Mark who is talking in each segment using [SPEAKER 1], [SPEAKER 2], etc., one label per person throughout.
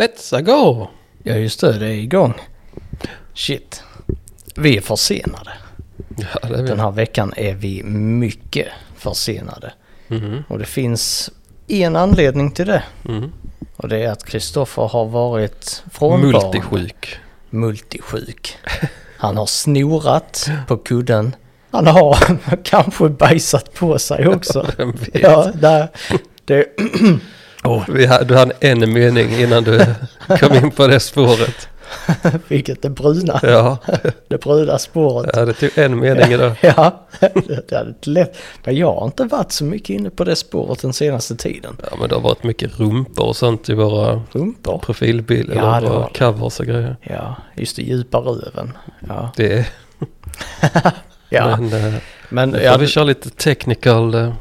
[SPEAKER 1] Let's go!
[SPEAKER 2] Ja just det, det är igång. Shit. Vi är försenade.
[SPEAKER 1] Ja, det är
[SPEAKER 2] Den
[SPEAKER 1] vi.
[SPEAKER 2] här veckan är vi mycket försenade.
[SPEAKER 1] Mhm,
[SPEAKER 2] Och det finns en anledning till det.
[SPEAKER 1] mhm.
[SPEAKER 2] Och det är att Kristoffer har varit frånvarande.
[SPEAKER 1] Multisjuk.
[SPEAKER 2] Multisjuk. Han har snorat på kudden. Han har kanske bajsat på sig också.
[SPEAKER 1] Vem vet?
[SPEAKER 2] Ja, där. Det,
[SPEAKER 1] Vi hade, du hade en mening innan du kom in på det spåret.
[SPEAKER 2] vilket det bruna,
[SPEAKER 1] Ja,
[SPEAKER 2] det bruna spåret.
[SPEAKER 1] ja, det tog en mening idag.
[SPEAKER 2] Ja, det hade inte lätt. Men jag har inte varit så mycket inne på det spåret den senaste tiden.
[SPEAKER 1] Ja, men det har varit mycket rumpor och sånt i våra
[SPEAKER 2] Rumpor?
[SPEAKER 1] profilbilder
[SPEAKER 2] Ja, det
[SPEAKER 1] och
[SPEAKER 2] har
[SPEAKER 1] våra
[SPEAKER 2] det.
[SPEAKER 1] covers och grejer.
[SPEAKER 2] Ja, just det, djupa röven. Ja,
[SPEAKER 1] Det är,
[SPEAKER 2] ja.
[SPEAKER 1] men eh,
[SPEAKER 2] men...
[SPEAKER 1] nu får
[SPEAKER 2] Ja,
[SPEAKER 1] vi köra lite technical. eh,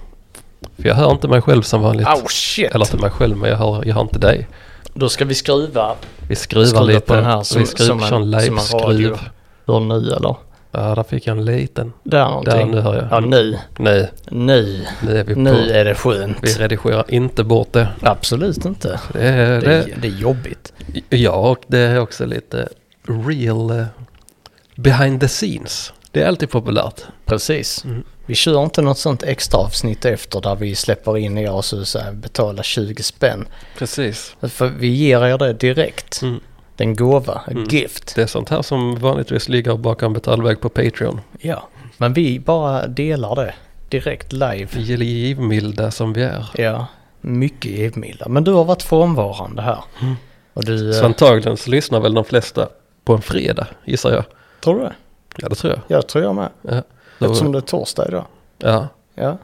[SPEAKER 1] För jag hör inte mig själv som vanligt.
[SPEAKER 2] oh shit!
[SPEAKER 1] Eller inte mig själv, men jag hör, jag hör inte dig.
[SPEAKER 2] Då ska vi skruva.
[SPEAKER 1] Vi skruvar
[SPEAKER 2] Skruva på
[SPEAKER 1] lite.
[SPEAKER 2] den här som-
[SPEAKER 1] vi skruvar,
[SPEAKER 2] som en-
[SPEAKER 1] kör en
[SPEAKER 2] som en radio.
[SPEAKER 1] live-skruv.
[SPEAKER 2] Hur nu eller?
[SPEAKER 1] Ja, där fick jag en liten.
[SPEAKER 2] Där någonting.
[SPEAKER 1] Där, nu hör jag.
[SPEAKER 2] Ja, nu.
[SPEAKER 1] Nej,
[SPEAKER 2] Nu.
[SPEAKER 1] nu är vi på.
[SPEAKER 2] Nu är det
[SPEAKER 1] Vi
[SPEAKER 2] skönt.
[SPEAKER 1] redigerar inte bort det.
[SPEAKER 2] Absolut inte.
[SPEAKER 1] det, är,
[SPEAKER 2] Det
[SPEAKER 1] det
[SPEAKER 2] är, det är jobbigt.
[SPEAKER 1] ja, och det är också lite real eh, behind the scenes. Det är alltid populärt.
[SPEAKER 2] Precis.
[SPEAKER 1] Mm.
[SPEAKER 2] Vi kör inte något sånt extra avsnitt efter där vi släpper in er och så så här, betalar 20 spänn.
[SPEAKER 1] Precis.
[SPEAKER 2] För vi ger er det direkt.
[SPEAKER 1] Mm.
[SPEAKER 2] Det är en gåva, ett
[SPEAKER 1] Mm.
[SPEAKER 2] gift.
[SPEAKER 1] Det är sånt här som vanligtvis ligger bakom betalväg på Patreon.
[SPEAKER 2] Ja. Men vi bara delar det direkt live.
[SPEAKER 1] Givmilda som vi är.
[SPEAKER 2] Ja, mycket givmilda. Men du har varit frånvarande här.
[SPEAKER 1] Mm.
[SPEAKER 2] Och du... eh,
[SPEAKER 1] Så antagligen så lyssnar väl de flesta på en fredag, gissar jag.
[SPEAKER 2] Tror du det?
[SPEAKER 1] Ja, det tror jag.
[SPEAKER 2] Jag tror jag med.
[SPEAKER 1] Ja.
[SPEAKER 2] Eftersom
[SPEAKER 1] Så,
[SPEAKER 2] det är torsdag idag.
[SPEAKER 1] ja.
[SPEAKER 2] Ja.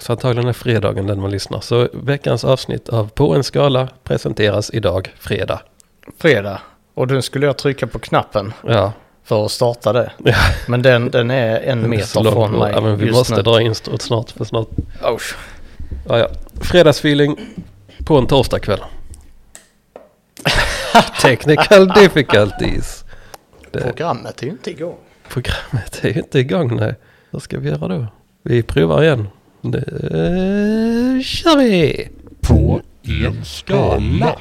[SPEAKER 1] så antagligen är fredagen den man lyssnar. Så veckans avsnitt av På en skala presenteras idag, fredag.
[SPEAKER 2] Fredag. Och då skulle jag trycka på knappen
[SPEAKER 1] Ja,
[SPEAKER 2] för att starta det.
[SPEAKER 1] Ja.
[SPEAKER 2] Men den, den är en
[SPEAKER 1] Det är så
[SPEAKER 2] meter
[SPEAKER 1] långt
[SPEAKER 2] från
[SPEAKER 1] bort.
[SPEAKER 2] mig
[SPEAKER 1] Ja, men vi
[SPEAKER 2] just
[SPEAKER 1] måste
[SPEAKER 2] nu.
[SPEAKER 1] dra in stort snart. För snart.
[SPEAKER 2] Usch.
[SPEAKER 1] Ja, ja. Fredagsfeeling på en torsdagkväll. Technical difficulties. Det,
[SPEAKER 2] Programmet är ju inte igång.
[SPEAKER 1] programmet är ju inte igång nej. Vad ska vi göra då? Vi provar igen. Nu kör vi!
[SPEAKER 3] på en skala.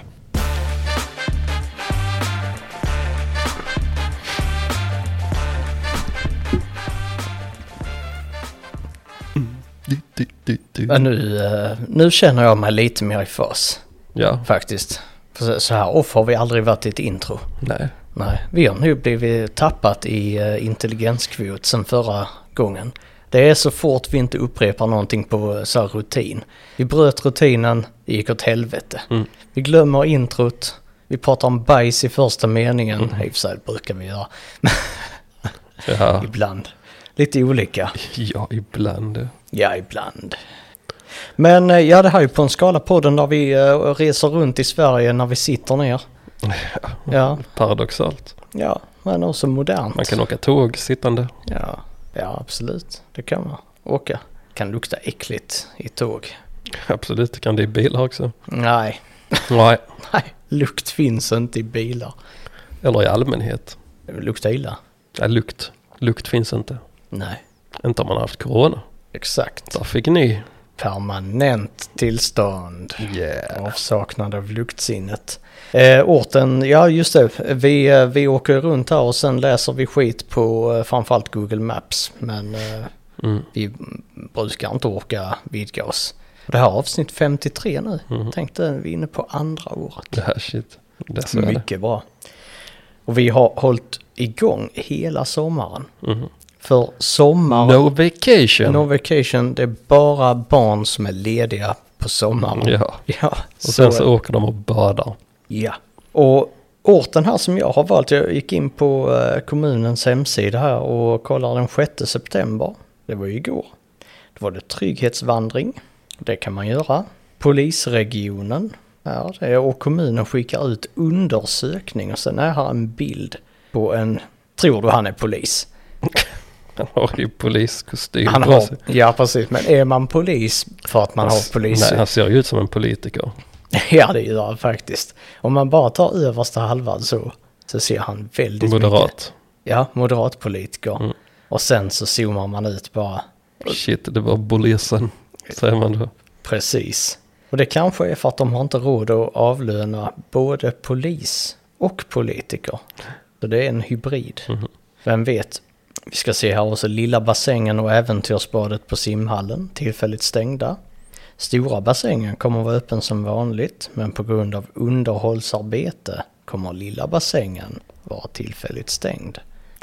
[SPEAKER 2] Men nu, eh, nu känner jag mig lite mer i fas.
[SPEAKER 1] Ja,
[SPEAKER 2] faktiskt. För så- så här off har vi aldrig varit i ett intro.
[SPEAKER 1] nej.
[SPEAKER 2] Nej, vi har nu blivit tappat i eh, intelligenskvot sen förra gången. Det är så fort vi inte upprepar någonting på eh, så här rutin. Vi bröt rutinen, det gick åt helvete.
[SPEAKER 1] Mm.
[SPEAKER 2] Vi glömmer introt, vi pratar om bajs i första meningen.
[SPEAKER 1] Mm.
[SPEAKER 2] I och för sig brukar vi göra
[SPEAKER 1] Ja,
[SPEAKER 2] ibland. Lite olika.
[SPEAKER 1] ja ibland.
[SPEAKER 2] Ja, ibland. Men eh, ja, det här är ju på en skala podden där vi eh, reser runt i Sverige när vi sitter ner. Ja,
[SPEAKER 1] Paradoxalt.
[SPEAKER 2] ja, men också modernt.
[SPEAKER 1] Man kan åka tåg sittande.
[SPEAKER 2] Ja, ja absolut. Det kan man. Åka. Kan lukta äckligt i tåg.
[SPEAKER 1] Absolut, kan det i bilar också.
[SPEAKER 2] Nej,
[SPEAKER 1] Nej,
[SPEAKER 2] nej. Lukt finns inte i bilar.
[SPEAKER 1] eller i allmänhet.
[SPEAKER 2] Det luktar illa.
[SPEAKER 1] Ja, lukt. Lukt finns inte.
[SPEAKER 2] Nej,
[SPEAKER 1] Inte om man har haft corona.
[SPEAKER 2] exakt.
[SPEAKER 1] Där fick ni.
[SPEAKER 2] Permanent tillstånd.
[SPEAKER 1] Yeah.
[SPEAKER 2] Avsaknad av luktsinnet. Eh, orten, ja just det. Vi, eh, vi åker runt här och sen läser vi skit på eh, framförallt Google Maps. Men eh,
[SPEAKER 1] Mm.
[SPEAKER 2] vi brukar inte orka vidga oss. Det här är avsnitt 53 nu.
[SPEAKER 1] Mhm.
[SPEAKER 2] Tänk dig, vi är inne på andra året.
[SPEAKER 1] Det här shit. Det är så är det.
[SPEAKER 2] Mycket bra. Och vi har hållit igång hela sommaren.
[SPEAKER 1] Mhm.
[SPEAKER 2] För sommar,
[SPEAKER 1] No vacation.
[SPEAKER 2] no vacation, det är bara barn som är lediga på sommaren.
[SPEAKER 1] Ja.
[SPEAKER 2] Ja,
[SPEAKER 1] Och sen
[SPEAKER 2] är det.
[SPEAKER 1] så åker de och badar.
[SPEAKER 2] ja. Och orten här som jag har valt, jag gick in på eh, kommunens hemsida här och kollade den 6 september. Det var ju igår. Då var det trygghetsvandring. Det kan man göra. Polisregionen. Ja, det är, och kommunen skickar ut undersökning och sen är här en bild på en, tror du han är polis?
[SPEAKER 1] Han har ju poliskostym
[SPEAKER 2] Han
[SPEAKER 1] på
[SPEAKER 2] har,
[SPEAKER 1] sig.
[SPEAKER 2] ja precis, men är man polis för att man
[SPEAKER 1] Han-
[SPEAKER 2] har polis?
[SPEAKER 1] Nej, han ser ju ut som en politiker.
[SPEAKER 2] Ja, det gör han faktiskt. Om man bara tar översta halvan så, så ser han väldigt mycket.
[SPEAKER 1] Moderat.
[SPEAKER 2] Ja, moderat politiker.
[SPEAKER 1] Mm.
[SPEAKER 2] Och sen så zoomar man ut bara
[SPEAKER 1] Shit, det var polisen. Säger man då.
[SPEAKER 2] precis. Och det kanske är för att de har inte råd att avlöna både polis och politiker. Så det är en hybrid. Vem vet? Vi ska se här också lilla bassängen och äventyrsbadet på simhallen, tillfälligt stängda. Stora bassängen kommer att vara öppen som vanligt, men på grund av underhållsarbete kommer lilla bassängen vara tillfälligt stängd.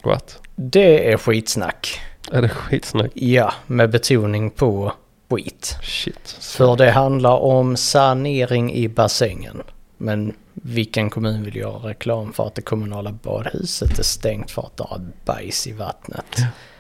[SPEAKER 1] What?
[SPEAKER 2] Det är skitsnack.
[SPEAKER 1] Är det skitsnack?
[SPEAKER 2] Ja, med betoning på skit.
[SPEAKER 1] Shit.
[SPEAKER 2] För det handlar om sanering i bassängen. Men vilken kommun vill göra reklam för att det kommunala badhuset är stängt för att det har bajs i vattnet?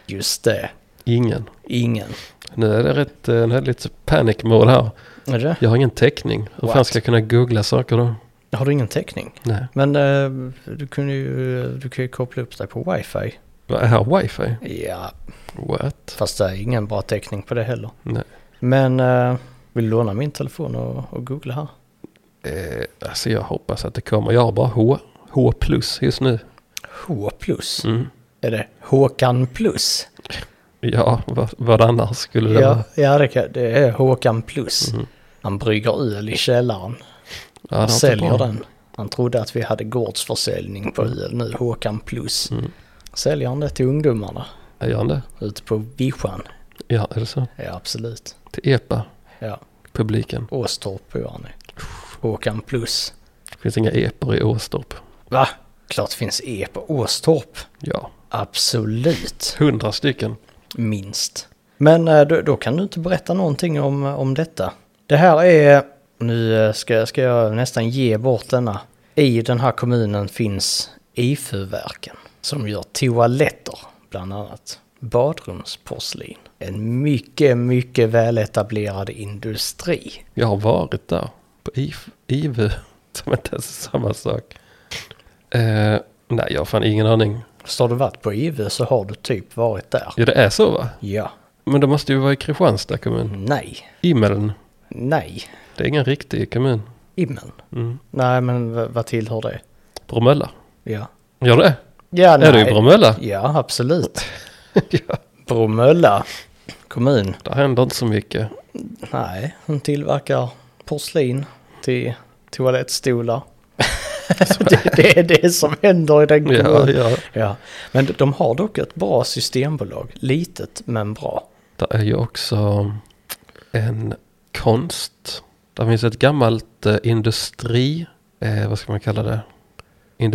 [SPEAKER 2] Just det,
[SPEAKER 1] Ingen.
[SPEAKER 2] ingen.
[SPEAKER 1] Nu är det rätt, eh, nu är det lite panic mode här.
[SPEAKER 2] Är det?
[SPEAKER 1] Jag har ingen täckning. Hur fan
[SPEAKER 2] What?
[SPEAKER 1] ska jag kunna googla saker då?
[SPEAKER 2] Har du ingen täckning?
[SPEAKER 1] Nej.
[SPEAKER 2] Men eh, du, kunde ju, du kan ju koppla upp dig på wifi.
[SPEAKER 1] Vad är här wifi?
[SPEAKER 2] Ja,
[SPEAKER 1] What?
[SPEAKER 2] fast det är ingen bra täckning på det heller.
[SPEAKER 1] Nej.
[SPEAKER 2] Men eh, vill du låna min telefon och, och googla här?
[SPEAKER 1] Eh, alltså jag hoppas att det kommer. Jag har bara H. H plus just nu.
[SPEAKER 2] H plus?
[SPEAKER 1] Mm.
[SPEAKER 2] Är det Håkan plus?
[SPEAKER 1] Ja, vad, vad annars skulle det
[SPEAKER 2] Ja,
[SPEAKER 1] vara?
[SPEAKER 2] ja det, kan, det är Håkan Plus. Han brygger öl i källaren.
[SPEAKER 1] Ja, det är
[SPEAKER 2] Han
[SPEAKER 1] inte
[SPEAKER 2] säljer
[SPEAKER 1] bra.
[SPEAKER 2] den. Han trodde att vi hade gårdsförsäljning på öl nu, Håkan Plus. Säljer han det till ungdomarna
[SPEAKER 1] Gör han det?
[SPEAKER 2] ute på vischan?
[SPEAKER 1] Ja, är det så?
[SPEAKER 2] Ja, absolut.
[SPEAKER 1] Till EPA-publiken.
[SPEAKER 2] Ja, Åstorp bor han i. Håkan Plus.
[SPEAKER 1] Det finns inga EPOR i Åstorp.
[SPEAKER 2] Va? Klart finns E på Åstorp.
[SPEAKER 1] Ja,
[SPEAKER 2] Absolut.
[SPEAKER 1] hundra stycken.
[SPEAKER 2] Minst. Men eh, då, då kan du inte berätta någonting om, om detta. Det här är, nu eh, ska, ska jag nästan ge bort denna. I den här kommunen finns IFU-verken som gör toaletter bland annat. Badrumsporslin. En mycket, mycket väletablerad industri.
[SPEAKER 1] Jag har varit där på IF, IVU. Som inte ens är samma sak. Eh, nej, jag har fan ingen aning.
[SPEAKER 2] Så har du varit på IFU så har du typ varit där.
[SPEAKER 1] Ja, det är så va?
[SPEAKER 2] Ja.
[SPEAKER 1] Men det måste ju vara i Kristianstad kommun.
[SPEAKER 2] Nej.
[SPEAKER 1] Immeln.
[SPEAKER 2] Nej.
[SPEAKER 1] Det är ingen riktig kommun.
[SPEAKER 2] Immen.
[SPEAKER 1] Mm.
[SPEAKER 2] Nej, men v- vad tillhör det?
[SPEAKER 1] Bromölla.
[SPEAKER 2] Ja.
[SPEAKER 1] Gör det?
[SPEAKER 2] Ja,
[SPEAKER 1] Är du i Bromölla?
[SPEAKER 2] Ja, absolut.
[SPEAKER 1] ja.
[SPEAKER 2] Bromölla kommun.
[SPEAKER 1] Där händer inte så mycket.
[SPEAKER 2] Nej, de tillverkar porslin till toalettstolar. det, det är det som händer i den
[SPEAKER 1] Ja,
[SPEAKER 2] kommunen.
[SPEAKER 1] ja.
[SPEAKER 2] Ja. Men de har dock ett bra systembolag. Litet men bra.
[SPEAKER 1] Där är ju också en konst. Där finns ett gammalt eh, industri, eh, vad ska man kalla det?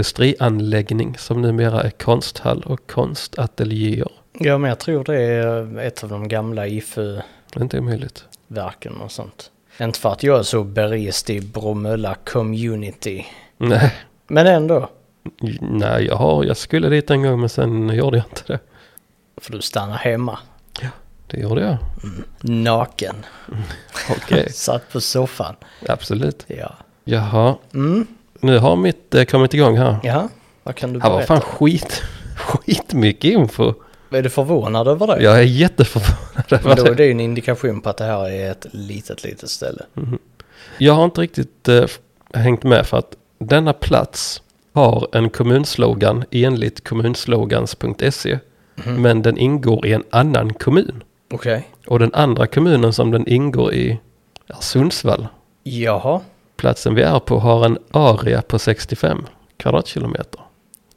[SPEAKER 1] Industrianläggning som numera är konsthall och konstateljéer.
[SPEAKER 2] Ja, men jag tror det är ett av de gamla IFU-verken
[SPEAKER 1] Det är inte omöjligt.
[SPEAKER 2] och sånt. Inte för att jag är så berest i Bromölla community.
[SPEAKER 1] Nej,
[SPEAKER 2] Men ändå.
[SPEAKER 1] nej jag, har, jag skulle dit en gång men sen gjorde jag inte det.
[SPEAKER 2] För du stannar hemma.
[SPEAKER 1] Det gjorde jag.
[SPEAKER 2] Naken.
[SPEAKER 1] Okej,
[SPEAKER 2] Satt på soffan.
[SPEAKER 1] absolut.
[SPEAKER 2] Ja.
[SPEAKER 1] Jaha,
[SPEAKER 2] Mm.
[SPEAKER 1] nu har mitt eh, kommit igång här.
[SPEAKER 2] Ja, vad kan du
[SPEAKER 1] Här var
[SPEAKER 2] berätta?
[SPEAKER 1] fan skit, skitmycket info.
[SPEAKER 2] Är du förvånad över det?
[SPEAKER 1] Jag är jätteförvånad över
[SPEAKER 2] Men då
[SPEAKER 1] det.
[SPEAKER 2] är det ju en indikation på att det här är ett litet, litet ställe.
[SPEAKER 1] Jag har inte riktigt eh, f- hängt med för att denna plats har en kommunslogan enligt kommunslogans.se. E,
[SPEAKER 2] Mhm.
[SPEAKER 1] Men den ingår i en annan kommun.
[SPEAKER 2] Okej.
[SPEAKER 1] Och den andra kommunen som den ingår i är Sundsvall.
[SPEAKER 2] Jaha.
[SPEAKER 1] Platsen vi är på har en area på 65 kvadratkilometer.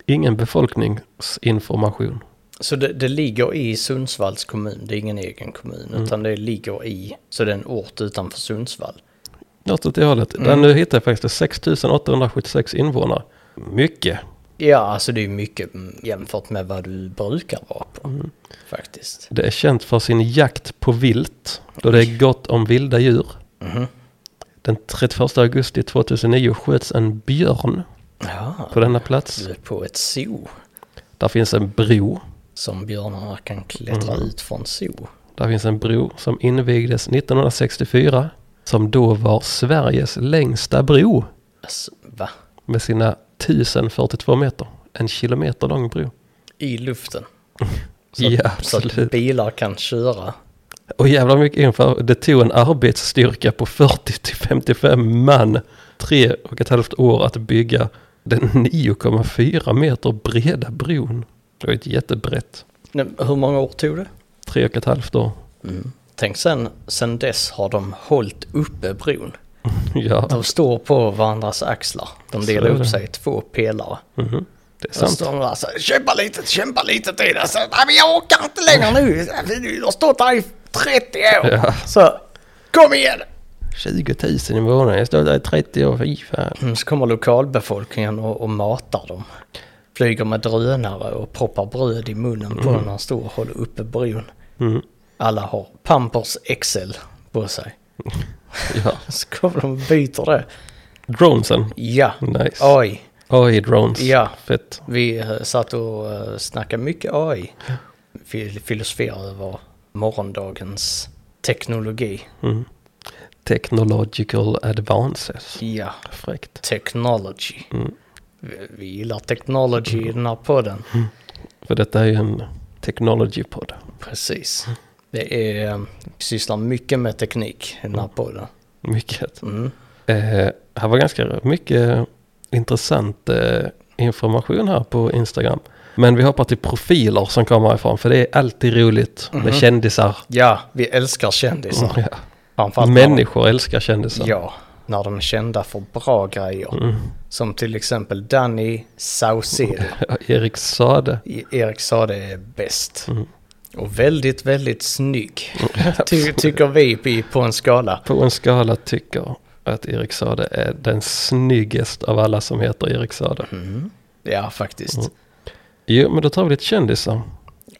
[SPEAKER 1] Ingen befolkningsinformation.
[SPEAKER 2] Så det, det ligger i Sundsvalls kommun, det är ingen egen kommun, utan det ligger i, så det är en ort utanför Sundsvall.
[SPEAKER 1] Något åt det hållet. Där nu hittar jag faktiskt 6876 invånare. Mycket.
[SPEAKER 2] Ja, alltså det är ju mycket mm, jämfört med vad du brukar vara på, faktiskt.
[SPEAKER 1] Det är känt för sin jakt på vilt, då det är gott om vilda djur. Mhm. Den 31 augusti 2009 sköts en björn
[SPEAKER 2] Ja,
[SPEAKER 1] på denna plats.
[SPEAKER 2] du är på ett zoo
[SPEAKER 1] Där finns en bro.
[SPEAKER 2] som björnarna kan klättra ut från zoo.
[SPEAKER 1] Där finns en bro som invigdes 1964, som då var Sveriges längsta bro
[SPEAKER 2] Alltså, va?
[SPEAKER 1] med sina 1042 meter. En kilometer lång bro.
[SPEAKER 2] I luften. Så, att-
[SPEAKER 1] Ja,
[SPEAKER 2] så att
[SPEAKER 1] absolut.
[SPEAKER 2] bilar kan köra
[SPEAKER 1] Och jävla mycket info. Det tog en arbetsstyrka på 40 till 55 man tre och ett halvt år att bygga den 9,4 meter breda bron. Det var ju ett jättebrett.
[SPEAKER 2] Nej, Hur många år tog det?
[SPEAKER 1] Tre och ett halvt år.
[SPEAKER 2] Tänk sen, sen dess har de hållit uppe bron.
[SPEAKER 1] ja.
[SPEAKER 2] De står på varandras axlar. De
[SPEAKER 1] Så
[SPEAKER 2] delar
[SPEAKER 1] är
[SPEAKER 2] upp
[SPEAKER 1] det.
[SPEAKER 2] sig i två pelare.
[SPEAKER 1] Mhm. Det är
[SPEAKER 2] Så
[SPEAKER 1] sant.
[SPEAKER 2] står de där så här, kämpa lite, kämpa lite till. Alltså, nej men jag orkar inte längre nu. Du har stått här i 30 år.
[SPEAKER 1] Ja.
[SPEAKER 2] Så, kom igen!
[SPEAKER 1] 20 000 i månaden, jag står där i 30 år, fy fan.
[SPEAKER 2] Mm, Så kommer lokalbefolkningen och, och matar dem. Flyger med drönare och proppar bröd i munnen på den när han står och håller uppe bron.
[SPEAKER 1] Mm.
[SPEAKER 2] Alla har Pampers XL på sig.
[SPEAKER 1] Ja.
[SPEAKER 2] Så kommer de och byter det.
[SPEAKER 1] Dronesen,
[SPEAKER 2] Ja,
[SPEAKER 1] nice.
[SPEAKER 2] AI.
[SPEAKER 1] AI drones,
[SPEAKER 2] Ja.
[SPEAKER 1] fett.
[SPEAKER 2] Vi eh, satt och eh, snackade mycket AI. Vi filosoferade över morgondagens teknologi.
[SPEAKER 1] Mm. Technological advances.
[SPEAKER 2] Ja,
[SPEAKER 1] Fräckt.
[SPEAKER 2] technology.
[SPEAKER 1] Mm.
[SPEAKER 2] Vi, vi gillar technology i den här podden.
[SPEAKER 1] För detta är ju en technology-podd.
[SPEAKER 2] Precis. Det är, eh, vi sysslar mycket med teknik i
[SPEAKER 1] Mm.
[SPEAKER 2] den här podden.
[SPEAKER 1] Mycket.
[SPEAKER 2] Mm.
[SPEAKER 1] Eh, här var ganska mycket intressant eh, information här på Instagram. Men vi hoppar till profiler som kommer ifrån, för det är alltid roligt med kändisar. Mm,
[SPEAKER 2] Ja, vi älskar kändisar.
[SPEAKER 1] Ja.
[SPEAKER 2] Framförallt när de-
[SPEAKER 1] Människor älskar kändisar.
[SPEAKER 2] Ja, när de är kända för bra grejer.
[SPEAKER 1] Mm.
[SPEAKER 2] Som till exempel Danny Saucedo.
[SPEAKER 1] Mm. Erik Sade.
[SPEAKER 2] E- Erik sa det är bäst.
[SPEAKER 1] Mm.
[SPEAKER 2] Och väldigt, väldigt snygg. Ty tycker vi på- på en skala.
[SPEAKER 1] På en skala tycker att Erik Sade är den snyggaste av alla som heter Erik Sade.
[SPEAKER 2] Mm. Ja, faktiskt.
[SPEAKER 1] Mm. Jo, men då tar vi lite kändisar.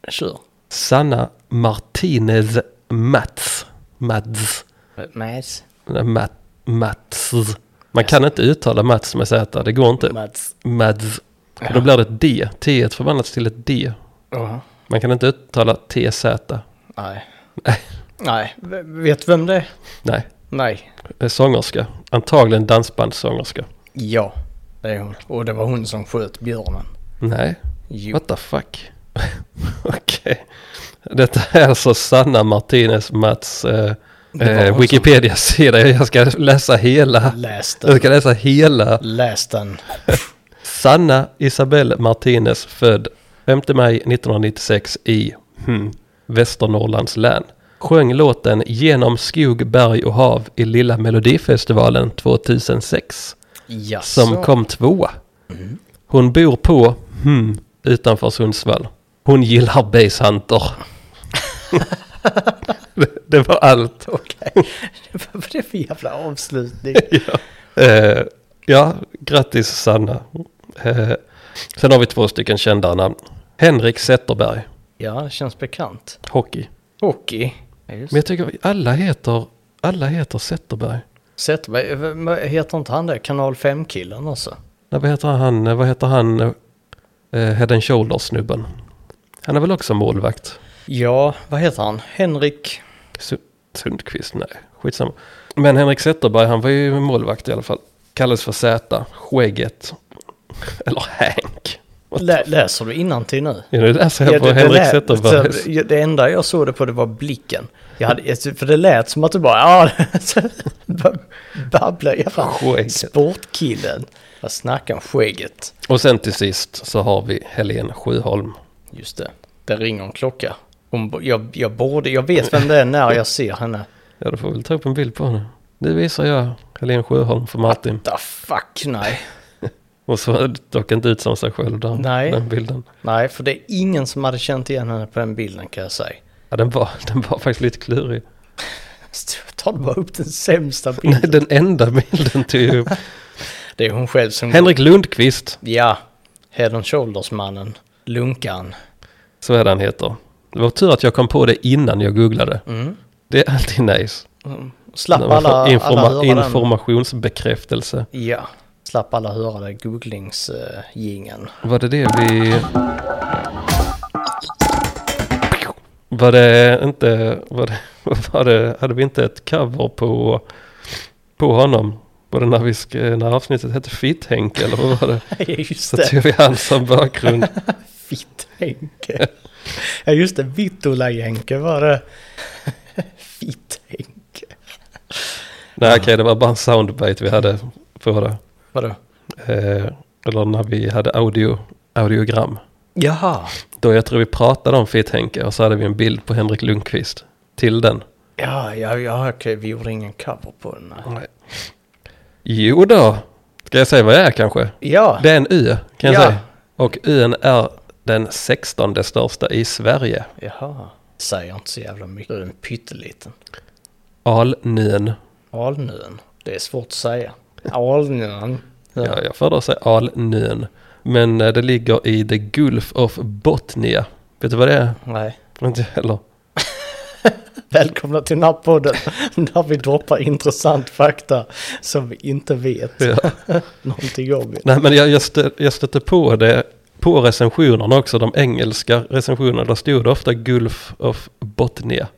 [SPEAKER 2] Kör.
[SPEAKER 1] Sanna Martinez Mats. Mats.
[SPEAKER 2] Mats.
[SPEAKER 1] Nej, Mat, Mats. Man kan inte uttala Mats med Z, det går inte.
[SPEAKER 2] Mats.
[SPEAKER 1] Mats. För då blir det ett D. T förvandlas till ett D.
[SPEAKER 2] Ja.
[SPEAKER 1] Man kan inte uttala TZ.
[SPEAKER 2] Nej.
[SPEAKER 1] Nej.
[SPEAKER 2] Nej. V- Vet du vem det är?
[SPEAKER 1] Nej,
[SPEAKER 2] Nej.
[SPEAKER 1] det är sångerska. Antagligen dansbandssångerska.
[SPEAKER 2] Ja, det är hon. Och det var hon som sköt björnen.
[SPEAKER 1] Nej,
[SPEAKER 2] Jo.
[SPEAKER 1] what the fuck. Okej. Detta är alltså Sanna Martinez Mats eh,
[SPEAKER 2] Det var hon
[SPEAKER 1] eh,
[SPEAKER 2] som-
[SPEAKER 1] Wikipedia-sida. Jag ska läsa hela.
[SPEAKER 2] Läs
[SPEAKER 1] Jag
[SPEAKER 2] den.
[SPEAKER 1] ska läsa hela.
[SPEAKER 2] Läs den.
[SPEAKER 1] Sanna Isabel Martinez född 5 maj 1996 i hmm, Västernorrlands län. Sjöng låten Genom skog, berg och hav i Lilla Melodifestivalen 2006
[SPEAKER 2] Jaså.
[SPEAKER 1] som kom tvåa. Hon bor på hmm, utanför Sundsvall. Hon gillar basehunter. det, det var allt.
[SPEAKER 2] Okej. Vad var det för jävla avslutning?
[SPEAKER 1] Eh, ja, grattis Sanna. Eh, sen har vi två stycken kända namn. Henrik Zetterberg,
[SPEAKER 2] Ja, det känns bekant.
[SPEAKER 1] hockey.
[SPEAKER 2] Hockey. Ja, just
[SPEAKER 1] Men jag tycker alla heter, alla heter Zetterberg.
[SPEAKER 2] Zetterberg, v- m- heter inte han det? Kanal alltså. 5-killen också?
[SPEAKER 1] Nej, vad heter han? Vad heter han? Eh, head and Shoulders-snubben. Han är väl också målvakt?
[SPEAKER 2] Ja, vad heter han? Henrik?
[SPEAKER 1] Su- Sundqvist? Nej, skitsamma. Men Henrik Zetterberg, han var ju målvakt i alla fall. Kallades för Z, Skägget. Eller Hank. What the-
[SPEAKER 2] Lä, läser du innantill nu?
[SPEAKER 1] Ja, nu läser jag
[SPEAKER 2] Ja,
[SPEAKER 1] på
[SPEAKER 2] det- det
[SPEAKER 1] Henrik
[SPEAKER 2] lät-
[SPEAKER 1] Zetterbergs.
[SPEAKER 2] så- ja, Det enda jag såg det på det var blicken. Jag hade, jag- för det lät som att du bara, ja, bara babblar jävla
[SPEAKER 1] Skägget.
[SPEAKER 2] sportkillen. Vad snackar om skägget?
[SPEAKER 1] Och sen till sist så har vi Helene Sjöholm.
[SPEAKER 2] Just det, det ringer en klocka. Hon, bo- jag, jag borde, jag vet vem det är när jag ser henne.
[SPEAKER 1] Ja, du får väl ta upp en bild på henne. Nu visar jag Helene Sjöholm för Martin.
[SPEAKER 2] The fuck, nej.
[SPEAKER 1] Och så dock inte ut som sig själv där,
[SPEAKER 2] Nej.
[SPEAKER 1] den bilden.
[SPEAKER 2] Nej, för det är ingen som hade känt igen henne på den bilden kan jag säga.
[SPEAKER 1] Ja, den var, den var faktiskt lite klurig.
[SPEAKER 2] Så Tar du bara upp den sämsta
[SPEAKER 1] Nej,
[SPEAKER 2] bilden?
[SPEAKER 1] den enda bilden tog jag upp.
[SPEAKER 2] Det är hon själv som...
[SPEAKER 1] Henrik Lundqvist,
[SPEAKER 2] Ja, Head and Shoulders-mannen. Lunkan.
[SPEAKER 1] så är det han heter. Det var tur att jag kom på det innan jag googlade.
[SPEAKER 2] Mm.
[SPEAKER 1] Det är alltid nice.
[SPEAKER 2] Slapp
[SPEAKER 1] När man får
[SPEAKER 2] alla, alla höra den.
[SPEAKER 1] informationsbekräftelse.
[SPEAKER 2] Ja, slapp alla eh, höra den googlingsjingeln.
[SPEAKER 1] Var det det vi... Var det inte... Var det, var det, hade vi inte ett cover på, på honom? Var det när, vi sk, när avsnittet hette Fitt-Henke eller vad var det?
[SPEAKER 2] just
[SPEAKER 1] Så typ- tog
[SPEAKER 2] det,
[SPEAKER 1] vi han som bakgrund.
[SPEAKER 2] Fitt-Henke. Ja, just det, Vittula-Henke var det. Fitt-Henke.
[SPEAKER 1] Nej okej, det var bara en soundbite vi hade på det.
[SPEAKER 2] Vadå?
[SPEAKER 1] Eh, eller när vi hade audio, audiogram.
[SPEAKER 2] Jaha.
[SPEAKER 1] Då jag tror vi pratade om Fitt-Henke och så hade vi en bild på Henrik Lundqvist till den.
[SPEAKER 2] Ja, ja, ja okej, vi gjorde ingen cover på den. nej.
[SPEAKER 1] Jo då. Ska jag säga vad jag är kanske?
[SPEAKER 2] Ja,
[SPEAKER 1] Det är en ö kan jag
[SPEAKER 2] Ja.
[SPEAKER 1] säga. Och ön är den 16 största i Sverige.
[SPEAKER 2] jaha. Säger inte så jävla mycket. Det är en pytteliten.
[SPEAKER 1] Alnön.
[SPEAKER 2] Alnön. Det är svårt att säga. Alnön.
[SPEAKER 1] Ja. jag föredrar att säga Alnön. Men eh, det ligger i the Gulf of Botnia. Vet du vad det är?
[SPEAKER 2] Nej.
[SPEAKER 1] Inte jag heller.
[SPEAKER 2] Välkomna till den här podden där vi droppar intressant fakta som vi inte vet
[SPEAKER 1] Ja.
[SPEAKER 2] någonting om.
[SPEAKER 1] Nej men jag, jag, stö, jag stötte på det på recensionerna också, de engelska recensionerna. Där stod det ofta Gulf of Botnia.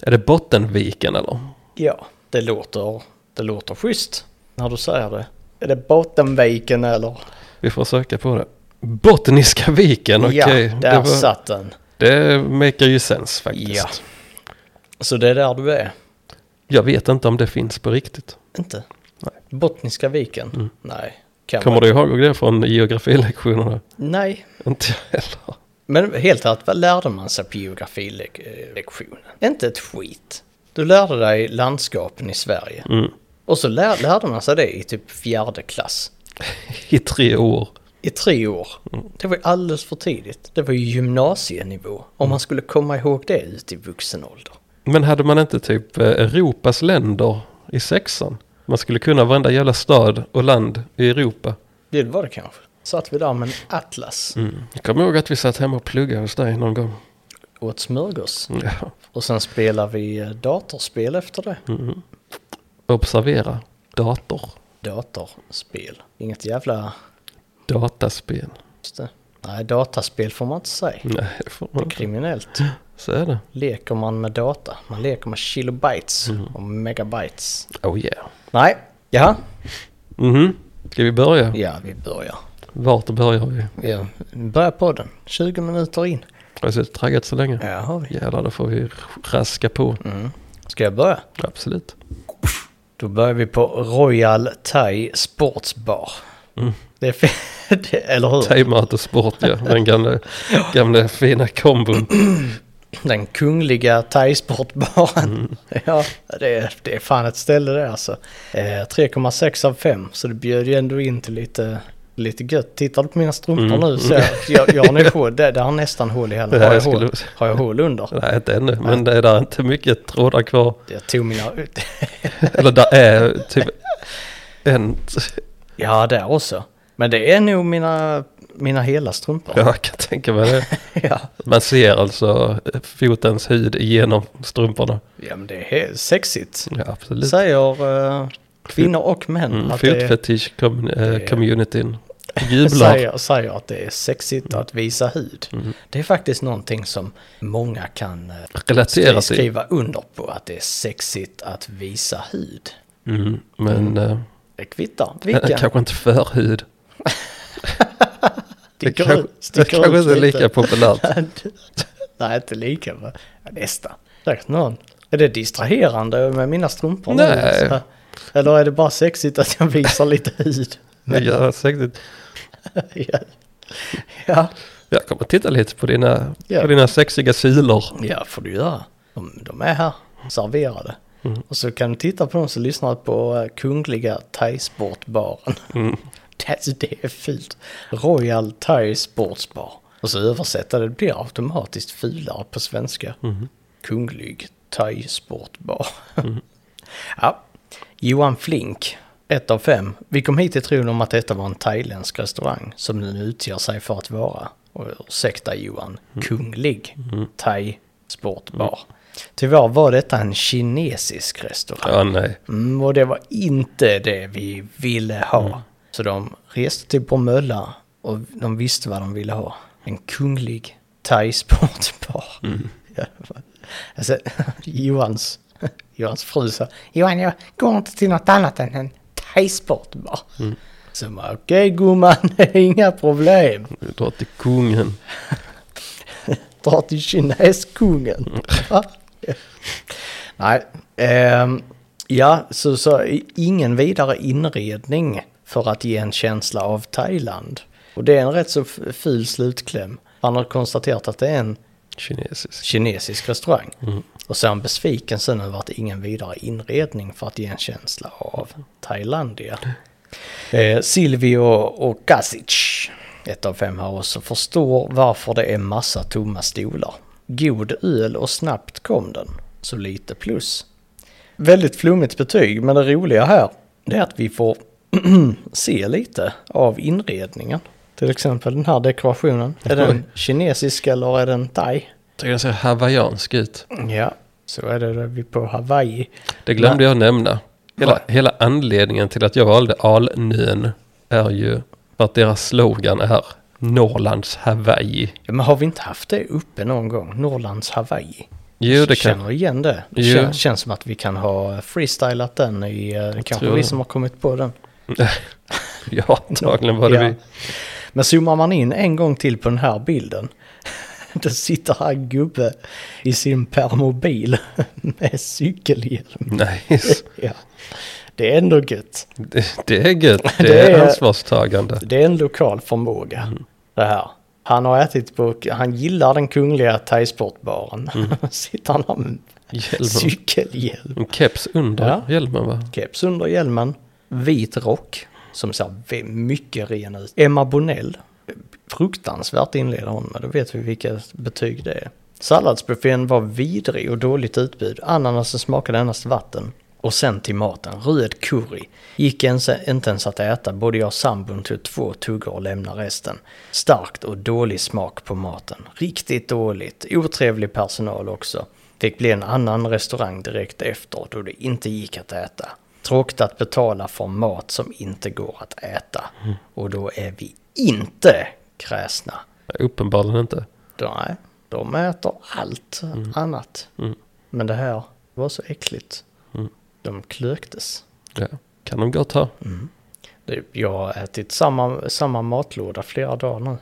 [SPEAKER 1] Är det Bottenviken eller?
[SPEAKER 2] Ja, det låter, det låter schysst när du säger det. Är det Bottenviken eller?
[SPEAKER 1] Vi får söka på det. Bottniska viken, okej.
[SPEAKER 2] ja, där
[SPEAKER 1] det, var-
[SPEAKER 2] satt den.
[SPEAKER 1] det maker ju sens faktiskt.
[SPEAKER 2] Ja. Så det är där du är?
[SPEAKER 1] Jag vet inte om det finns på riktigt.
[SPEAKER 2] Inte? Bottniska viken?
[SPEAKER 1] Mm.
[SPEAKER 2] Nej. Kan
[SPEAKER 1] Kommer
[SPEAKER 2] man-
[SPEAKER 1] du ihåg det från geografilektionerna?
[SPEAKER 2] Nej.
[SPEAKER 1] Inte jag heller.
[SPEAKER 2] Men helt ärligt, vad lärde man sig på geografilektionen? Inte ett skit. Du lärde dig landskapen i Sverige.
[SPEAKER 1] Mm.
[SPEAKER 2] Och så lär, lärde man sig det i typ fjärde klass.
[SPEAKER 1] I tre år.
[SPEAKER 2] I tre år. Det var ju alldeles för tidigt. Det var ju gymnasienivå. Om man skulle komma ihåg det ut i vuxen ålder.
[SPEAKER 1] Men hade man inte typ eh, Europas länder i sexan? Man skulle kunna varenda jävla stad och land i Europa.
[SPEAKER 2] Det var det kanske. Satt vi där med en atlas
[SPEAKER 1] Jag kommer ihåg att vi satt hemma och pluggade hos dig någon gång.
[SPEAKER 2] åt smörgås.
[SPEAKER 1] Ja.
[SPEAKER 2] Och sen spelade vi eh, datorspel efter det.
[SPEAKER 1] Mm. Observera. Dator.
[SPEAKER 2] Datorspel. Inget jävla...
[SPEAKER 1] Dataspel.
[SPEAKER 2] Just det. Nej, dataspel får man inte säga.
[SPEAKER 1] Nej, det får man inte.
[SPEAKER 2] Kriminellt.
[SPEAKER 1] Så är det.
[SPEAKER 2] Leker man med data. Man leker med kilobytes och megabytes.
[SPEAKER 1] Oh yeah.
[SPEAKER 2] Nej. Jaha.
[SPEAKER 1] Mhm. Ska vi börja?
[SPEAKER 2] Ja, vi börjar.
[SPEAKER 1] Vart börjar vi?
[SPEAKER 2] Ja, börja podden. 20 minuter in.
[SPEAKER 1] Alltså, Har jag suttit och traggat så länge?
[SPEAKER 2] Ja, har vi.
[SPEAKER 1] Jävlar, då får vi raska på.
[SPEAKER 2] Mm. Ska jag börja?
[SPEAKER 1] Absolut.
[SPEAKER 2] Då börjar vi på Royal Thai Sportsbar. Det är fin- det- eller hur?
[SPEAKER 1] Thaimat och sport, ja. Den gamla, gamla fina kombon.
[SPEAKER 2] Den kungliga thaisportbaren. Ja, det är, det är fan ett ställe det alltså. Eh, 3,6 av 5 så det bjöd ju ändå in till lite, lite gött. Tittar du på mina strumpor nu så jag, jag, jag har nu hål, det, det har nästan hål i hällen.
[SPEAKER 1] Ja,
[SPEAKER 2] Har jag
[SPEAKER 1] jag skulle-
[SPEAKER 2] hål, har jag hål under?
[SPEAKER 1] Nej, inte ännu, men det är där inte mycket trådar kvar.
[SPEAKER 2] Jag tog mina ut.
[SPEAKER 1] Eller där är typ en...
[SPEAKER 2] Ja, där också. Men det är nog mina, mina hela strumpor.
[SPEAKER 1] Ja, jag kan tänka mig det.
[SPEAKER 2] ja.
[SPEAKER 1] Man ser alltså fotens hud genom strumporna.
[SPEAKER 2] Ja men det är he- sexigt.
[SPEAKER 1] Ja, absolut.
[SPEAKER 2] Säger eh, kvinnor och män.
[SPEAKER 1] Mm,
[SPEAKER 2] att det är,
[SPEAKER 1] Fotfetish com-
[SPEAKER 2] det
[SPEAKER 1] eh,
[SPEAKER 2] är-
[SPEAKER 1] communityn jublar.
[SPEAKER 2] säger, säger att det är sexigt
[SPEAKER 1] Mm.
[SPEAKER 2] att visa hud. Det är faktiskt någonting som många kan eh,
[SPEAKER 1] Relatera
[SPEAKER 2] skri-
[SPEAKER 1] till.
[SPEAKER 2] skriva under på. Att det är sexigt att visa hud.
[SPEAKER 1] Mm, men eh,
[SPEAKER 2] Det kvittar vilken.
[SPEAKER 1] kanske inte för hud. Det
[SPEAKER 2] Sticker
[SPEAKER 1] kanske,
[SPEAKER 2] ut-
[SPEAKER 1] det
[SPEAKER 2] sticker
[SPEAKER 1] kanske
[SPEAKER 2] ut
[SPEAKER 1] inte är
[SPEAKER 2] lite.
[SPEAKER 1] lika populärt.
[SPEAKER 2] Nej inte lika men ja, nästan. Säkert någon. Är det distraherande med mina strumpor? nu?
[SPEAKER 1] Nej.
[SPEAKER 2] Så- Eller är det bara sexigt att jag visar lite hud?
[SPEAKER 1] Ja, säkert.
[SPEAKER 2] ja. ja.
[SPEAKER 1] Jag kommer titta lite på dina,
[SPEAKER 2] Ja.
[SPEAKER 1] på dina sexiga silor.
[SPEAKER 2] Ja, får du göra. De, de är här, serverade. Och så kan du titta på dem som lyssnar på eh, Kungliga Thaisportbaren. Det, alltså, det är fult. Royal Thai Sportsbar. Och så översätta det, det blir automatiskt fulare på svenska. Kunglig Thai Sportbar. ja. Johan Flink, ett av fem. Vi kom hit i tron om att detta var en thailändsk restaurang som den utger sig för att vara. Och ursäkta Johan, kunglig thai sportbar. Tyvärr var detta en kinesisk restaurang.
[SPEAKER 1] Ja, nej.
[SPEAKER 2] Mm, och det var inte det vi ville ha. Så de reste till Bromölla och de visste vad de ville ha. En kunglig thaisportbar. Ja, alltså, Johans, Johans fru sa Johan, jag går inte till något annat än en thaisportbar. Så jag bara, okej gumman, det är inga problem.
[SPEAKER 1] Du drar till kungen.
[SPEAKER 2] dra till kineskungen. Va? Nej, ehm, ja, så, så ingen vidare inredning för att ge en känsla av Thailand. Och det är en rätt så f- ful slutkläm. Han har konstaterat att det är en
[SPEAKER 1] Kinesisk.
[SPEAKER 2] kinesisk restaurang. Och så är han besviken sen över att det ingen vidare inredning för att ge en känsla av Thailandia. Eh, Silvio och Kasic, ett av fem här också, förstår varför det är massa tomma stolar. God öl och snabbt kom den, så lite plus. Väldigt flummigt betyg, men det roliga här det är att vi får se lite av inredningen. Till exempel den här dekorationen. Är den kinesisk eller är den thai?
[SPEAKER 1] Tycker den ser hawaiiansk ut.
[SPEAKER 2] Ja, så är det där vi på Hawaii.
[SPEAKER 1] Det glömde jag nämna. Hela, hela anledningen till att jag valde alnön är ju för att deras slogan är Norrlands Hawaii.
[SPEAKER 2] Ja, men har vi inte haft det uppe någon gång? Norrlands Hawaii?
[SPEAKER 1] Jo, det
[SPEAKER 2] Känner
[SPEAKER 1] kan...
[SPEAKER 2] du igen det? Det
[SPEAKER 1] Jo.
[SPEAKER 2] kän- känns som att vi kan ha freestylat den i, eh, kanske
[SPEAKER 1] tror
[SPEAKER 2] vi
[SPEAKER 1] det.
[SPEAKER 2] som har kommit på den.
[SPEAKER 1] Ja, antagligen var det
[SPEAKER 2] Ja.
[SPEAKER 1] vi.
[SPEAKER 2] Men zoomar man in en gång till på den här bilden. Då sitter här en gubbe i sin permobil med cykelhjälm.
[SPEAKER 1] Nice.
[SPEAKER 2] Ja. Det är ändå gött.
[SPEAKER 1] Det, det är gött. Det,
[SPEAKER 2] Det
[SPEAKER 1] är
[SPEAKER 2] är-
[SPEAKER 1] ansvarstagande.
[SPEAKER 2] Det är en lokal förmåga det här. Han har ätit på, han gillar den kungliga thaisportbaren. Sitter han här med
[SPEAKER 1] Hjälmen.
[SPEAKER 2] cykelhjälm.
[SPEAKER 1] En keps under
[SPEAKER 2] Ja.
[SPEAKER 1] hjälmen va?
[SPEAKER 2] Keps under hjälmen, vit rock som ser vä- mycket ren ut. Emma Bonell, fruktansvärt inleder hon med, då vet vi vilka betyg det är. Salladsbuffén var vidrig och dåligt utbud, ananasen smakade endast vatten. Och sen till maten, röd curry. Gick ens, inte ens att äta, både jag och sambon tog två tuggor och lämnade resten. Starkt och dålig smak på maten. Riktigt dåligt, otrevlig personal också. Fick bli en annan restaurang direkt efter då det inte gick att äta. Tråkigt att betala för mat som inte går att äta. Och då är vi inte kräsna.
[SPEAKER 1] Uppenbarligen inte.
[SPEAKER 2] Då- Nej, de äter allt
[SPEAKER 1] Mm.
[SPEAKER 2] annat. Men det här var så äckligt.
[SPEAKER 1] Mm.
[SPEAKER 2] De klöktes.
[SPEAKER 1] Ja. Kan de gott ha.
[SPEAKER 2] Det- Jag har ätit samma, samma matlåda flera dagar nu.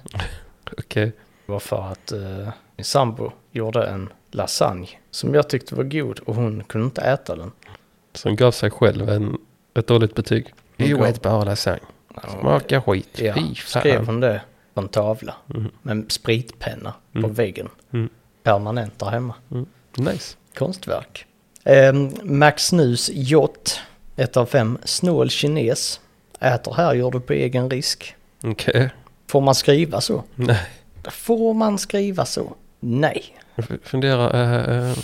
[SPEAKER 1] Okej.
[SPEAKER 2] Det var för att eh, min sambo gjorde en lasagne som jag tyckte var god och hon kunde inte äta den.
[SPEAKER 1] Som gav sig själv en, ett dåligt betyg.
[SPEAKER 2] gav-
[SPEAKER 1] Oätbar lasagne. Smakar skit.
[SPEAKER 2] Ja,
[SPEAKER 1] Fy fan.
[SPEAKER 2] skrev hon det på en tavla med en spritpenna på väggen.
[SPEAKER 1] Mm.
[SPEAKER 2] Permanent där hemma.
[SPEAKER 1] Nice.
[SPEAKER 2] Konstverk. Ehm, Max Nus Jott, ett av fem, snål kines. Äter här gör du på egen risk.
[SPEAKER 1] Okej.
[SPEAKER 2] Får man skriva så?
[SPEAKER 1] Nej.
[SPEAKER 2] Får man skriva så? Nej.
[SPEAKER 1] Jag f- funderar. eh, eh,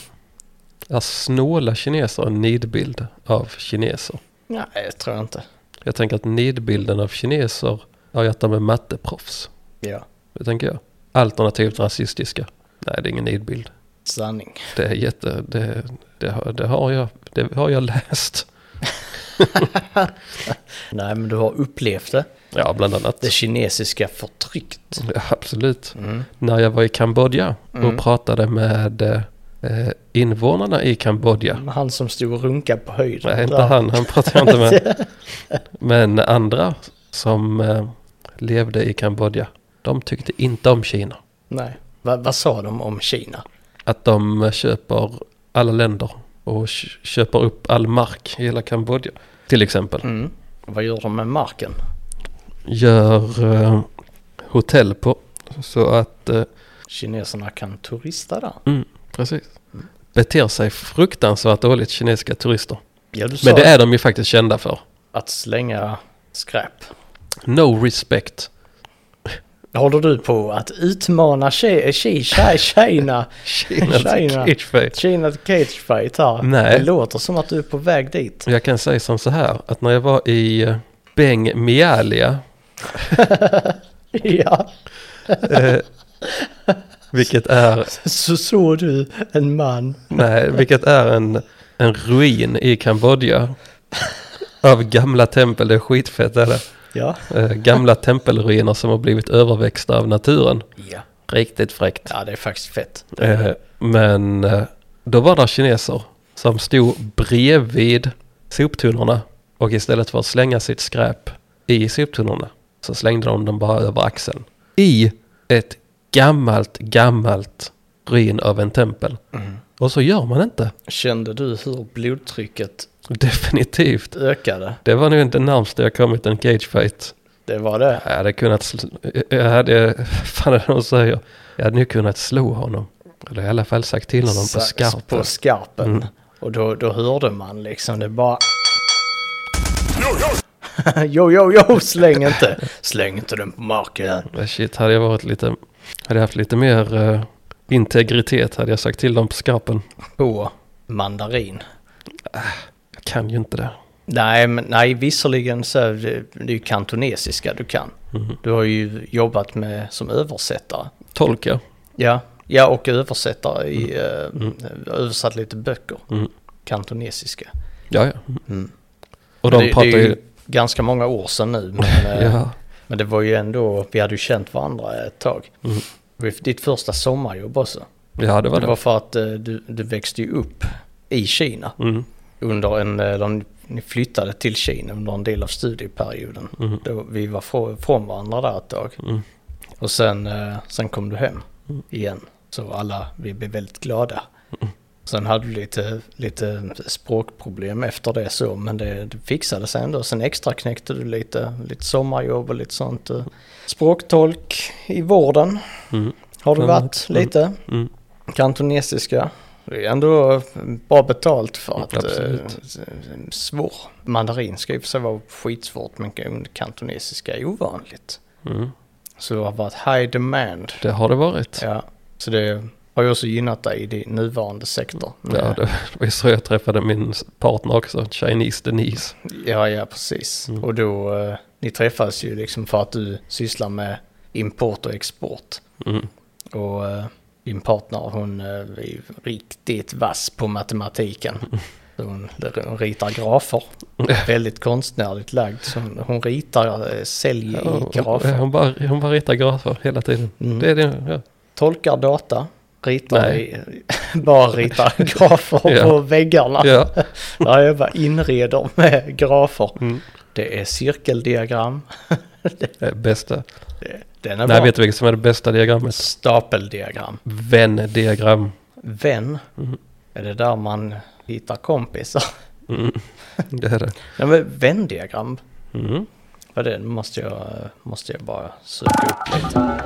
[SPEAKER 1] är snåla kineser en nidbild av kineser?
[SPEAKER 2] Nej, det tror jag inte.
[SPEAKER 1] Jag tänker att nidbilden av kineser har att göra med matteproffs.
[SPEAKER 2] Ja,
[SPEAKER 1] Det tänker jag. Alternativt rasistiska. Nej, det är ingen nidbild.
[SPEAKER 2] sanning.
[SPEAKER 1] Det är jätte... Det, det, har- det, har, jag, det har jag läst.
[SPEAKER 2] Nej, men du har upplevt det.
[SPEAKER 1] Ja, bland annat.
[SPEAKER 2] Det kinesiska förtrycket.
[SPEAKER 1] Ja, absolut.
[SPEAKER 2] Mm.
[SPEAKER 1] När jag var i Kambodja och pratade med eh, invånarna i Kambodja.
[SPEAKER 2] Han som stod och runkade på höjden.
[SPEAKER 1] Nej, inte
[SPEAKER 2] där.
[SPEAKER 1] han. Han pratade jag inte med. Men andra som eh, levde i Kambodja. De tyckte inte om Kina.
[SPEAKER 2] Nej. Va, vad sa de om Kina?
[SPEAKER 1] Att de köper alla länder och kö- köper upp all mark i hela Kambodja. Till exempel.
[SPEAKER 2] Mm. Vad gör de med marken?
[SPEAKER 1] Gör eh, hotell på. Så att eh,
[SPEAKER 2] Kineserna kan turista där.
[SPEAKER 1] Mm, precis. Beter sig fruktansvärt dåligt kinesiska turister.
[SPEAKER 2] Ja, du sa
[SPEAKER 1] Men det är de ju faktiskt kända för.
[SPEAKER 2] att slänga skräp.
[SPEAKER 1] No respect.
[SPEAKER 2] Håller du på att utmana Ki- Ki- Ki- Kina?
[SPEAKER 1] Kinas
[SPEAKER 2] China.
[SPEAKER 1] cage fight.
[SPEAKER 2] Kina cage fight här.
[SPEAKER 1] Alltså, Nej.
[SPEAKER 2] Det låter som att du är på väg dit.
[SPEAKER 1] Jag kan säga som så här att när jag var i eh, Beng Mialia,
[SPEAKER 2] ja,
[SPEAKER 1] eh, vilket är,
[SPEAKER 2] så såg du en man.
[SPEAKER 1] nej, vilket är en, en ruin i Kambodja av gamla tempel, det är skitfett är det.
[SPEAKER 2] Ja.
[SPEAKER 1] Eh, gamla tempelruiner som har blivit överväxta av naturen.
[SPEAKER 2] ja.
[SPEAKER 1] Riktigt fräckt.
[SPEAKER 2] Ja, det är faktiskt fett.
[SPEAKER 1] Eh, Men eh, då var det kineser som stod bredvid soptunnorna och istället för att slänga sitt skräp i soptunnorna så slängde de dem bara över axeln. I ett gammalt, gammalt ruin av en tempel. Och så gör man inte.
[SPEAKER 2] Kände du hur blodtrycket
[SPEAKER 1] Definitivt.
[SPEAKER 2] ökade?
[SPEAKER 1] Det var nog inte närmsta jag kommit en cagefight.
[SPEAKER 2] Det var det.
[SPEAKER 1] Jag hade kunnat slå... Jag hade... Fan är det de säger? Jag hade nu kunnat slå honom. Det har i alla fall sagt till honom på
[SPEAKER 2] Sax
[SPEAKER 1] skarpen.
[SPEAKER 2] På skarpen.
[SPEAKER 1] Mm.
[SPEAKER 2] Och då, då hörde man liksom det bara... Jo, jo, jo, släng inte. Släng inte den på marken.
[SPEAKER 1] Ah, Shit, hade jag varit lite, hade jag haft lite mer eh, integritet hade jag sagt till dem på skarpen.
[SPEAKER 2] På mandarin.
[SPEAKER 1] Jag kan ju inte det.
[SPEAKER 2] Nej, men nej, visserligen så är det, det är ju kantonesiska du kan.
[SPEAKER 1] Mhm.
[SPEAKER 2] Du har ju jobbat med som översättare.
[SPEAKER 1] Tolka.
[SPEAKER 2] Ja, ja och översättare i, eh, översatt lite böcker.
[SPEAKER 1] Mm.
[SPEAKER 2] Kantonesiska.
[SPEAKER 1] Ja, ja.
[SPEAKER 2] Mm.
[SPEAKER 1] Och de
[SPEAKER 2] det,
[SPEAKER 1] pratar
[SPEAKER 2] det är ju
[SPEAKER 1] ju...
[SPEAKER 2] ganska många år sedan nu. Men, eh,
[SPEAKER 1] Ja.
[SPEAKER 2] men det var ju ändå, vi hade ju känt varandra ett tag.
[SPEAKER 1] Mm.
[SPEAKER 2] Det var ditt första sommarjobb också.
[SPEAKER 1] ja, det var
[SPEAKER 2] Det
[SPEAKER 1] det.
[SPEAKER 2] var för att eh, du, du växte ju upp i Kina.
[SPEAKER 1] Mm.
[SPEAKER 2] Under en, eller ni flyttade till Kina under en del av studieperioden.
[SPEAKER 1] Mm.
[SPEAKER 2] Då vi var frå- från varandra där ett tag.
[SPEAKER 1] Mm.
[SPEAKER 2] Och sen, eh, sen kom du hem
[SPEAKER 1] Mm.
[SPEAKER 2] igen. Så alla, vi blev väldigt glada. Sen hade du lite, lite språkproblem efter det så, men det, det fixade sig ändå. Sen extra knäckte du lite, lite sommarjobb och lite sånt. eh. Språktolk i vården
[SPEAKER 1] Mm.
[SPEAKER 2] har du
[SPEAKER 1] Mm.
[SPEAKER 2] varit lite.
[SPEAKER 1] Mm.
[SPEAKER 2] Kantonesiska. Det är ändå bra betalt för att...
[SPEAKER 1] Absolut.
[SPEAKER 2] eh, s- s- Svår. Mandarin ska i och för sig vara skitsvårt, men kan- kantonesiska är ovanligt.
[SPEAKER 1] Mm.
[SPEAKER 2] Så det har varit high demand.
[SPEAKER 1] Det har det varit.
[SPEAKER 2] Ja, så det har ju också gynnat dig i din nuvarande sektor.
[SPEAKER 1] Ja, det var ju så jag träffade min partner också, Chinese Denise.
[SPEAKER 2] ja, ja, precis.
[SPEAKER 1] Mm.
[SPEAKER 2] Och då, eh, ni träffas ju liksom för att du sysslar med import och export.
[SPEAKER 1] Mm.
[SPEAKER 2] Och eh, din partner hon eh, är ju riktigt vass på matematiken. Hon, hon ritar grafer. Väldigt konstnärligt lagd. Så hon, hon ritar eh, sälj i
[SPEAKER 1] Och- och-
[SPEAKER 2] grafer.
[SPEAKER 1] Hon bara, hon bara ritar grafer hela tiden.
[SPEAKER 2] Mm.
[SPEAKER 1] Det är det, ja.
[SPEAKER 2] Tolkar data. Ritar i,
[SPEAKER 1] Nej.
[SPEAKER 2] bara ritar grafer
[SPEAKER 1] Ja.
[SPEAKER 2] på väggarna.
[SPEAKER 1] ja.
[SPEAKER 2] Ja, jag bara inreder med grafer.
[SPEAKER 1] Mm.
[SPEAKER 2] Det är cirkeldiagram.
[SPEAKER 1] Det är Eh, bästa.
[SPEAKER 2] Det- Den är
[SPEAKER 1] Nej,
[SPEAKER 2] bra.
[SPEAKER 1] vet du vilket som är det bästa diagrammet?
[SPEAKER 2] Stapeldiagram.
[SPEAKER 1] Vän-diagram.
[SPEAKER 2] Vän.
[SPEAKER 1] Mm.
[SPEAKER 2] Är det där man hittar kompisar?
[SPEAKER 1] Mm. Det är det.
[SPEAKER 2] Ja, men vändiagram.
[SPEAKER 1] Mm.
[SPEAKER 2] Vad är det? Nu måste jag, eh, måste jag bara söka upp lite.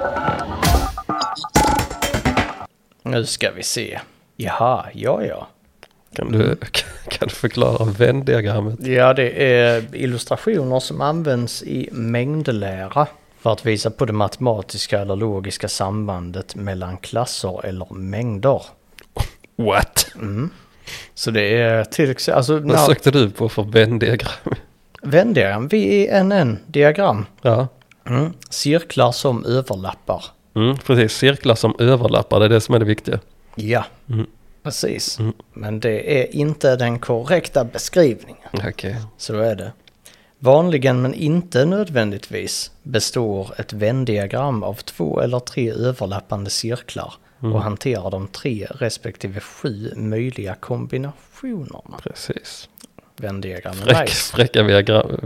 [SPEAKER 2] Nu ska vi se. Jaha, ja ja.
[SPEAKER 1] Kan du, kan du förklara vän-diagrammet?
[SPEAKER 2] Ja, det är illustrationer som används i mängdlära för att visa på det matematiska eller logiska sambandet mellan klasser eller mängder. Mm.
[SPEAKER 1] What?
[SPEAKER 2] Så det är till exempel, alltså,
[SPEAKER 1] Vad
[SPEAKER 2] när,
[SPEAKER 1] sökte du på för vän-diagram?
[SPEAKER 2] vänddiagram, VENN-diagram.
[SPEAKER 1] Ja.
[SPEAKER 2] Mm. Cirklar som överlappar.
[SPEAKER 1] Mm, precis, cirklar som överlappar, det är det som är det viktiga.
[SPEAKER 2] Ja,
[SPEAKER 1] Mm.
[SPEAKER 2] precis.
[SPEAKER 1] Mm.
[SPEAKER 2] Men det är inte den korrekta beskrivningen.
[SPEAKER 1] Okej.
[SPEAKER 2] Så är det. Vanligen men inte nödvändigtvis består ett vändiagram av två eller tre överlappande cirklar
[SPEAKER 1] Mm.
[SPEAKER 2] och hanterar de tre respektive sju möjliga kombinationerna.
[SPEAKER 1] Precis.
[SPEAKER 2] Vändiagram är
[SPEAKER 1] Fräck,
[SPEAKER 2] nice.
[SPEAKER 1] Fräcka diagram.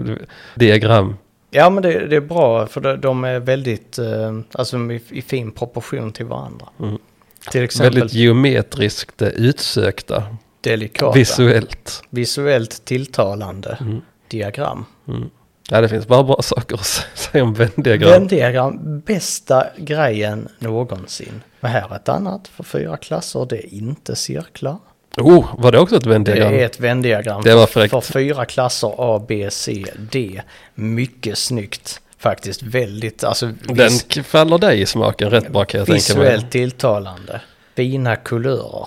[SPEAKER 1] diagram.
[SPEAKER 2] Ja men det, det är bra för de, de är väldigt, eh, alltså i, i fin proportion till varandra. Till exempel
[SPEAKER 1] Mm. Väldigt geometriskt eh, utsökta.
[SPEAKER 2] delikata,
[SPEAKER 1] Visuellt. Mm,
[SPEAKER 2] visuellt tilltalande diagram.
[SPEAKER 1] Ja, det finns bara bra saker att s- säga om vändiagram.
[SPEAKER 2] Venn-diagram, bästa grejen någonsin. Men här är ett annat för fyra klasser, det är inte cirklar.
[SPEAKER 1] Oh, var det också ett
[SPEAKER 2] Det
[SPEAKER 1] vändiagram?
[SPEAKER 2] är ett Venn-diagram
[SPEAKER 1] Det var
[SPEAKER 2] för,
[SPEAKER 1] fräckt.
[SPEAKER 2] för fyra klasser A, B, C, D. Mycket snyggt faktiskt, väldigt, alltså
[SPEAKER 1] Den
[SPEAKER 2] vis,
[SPEAKER 1] k- faller dig i smaken rätt bra kan jag tänka mig.
[SPEAKER 2] visuellt tilltalande. Fina kulörer.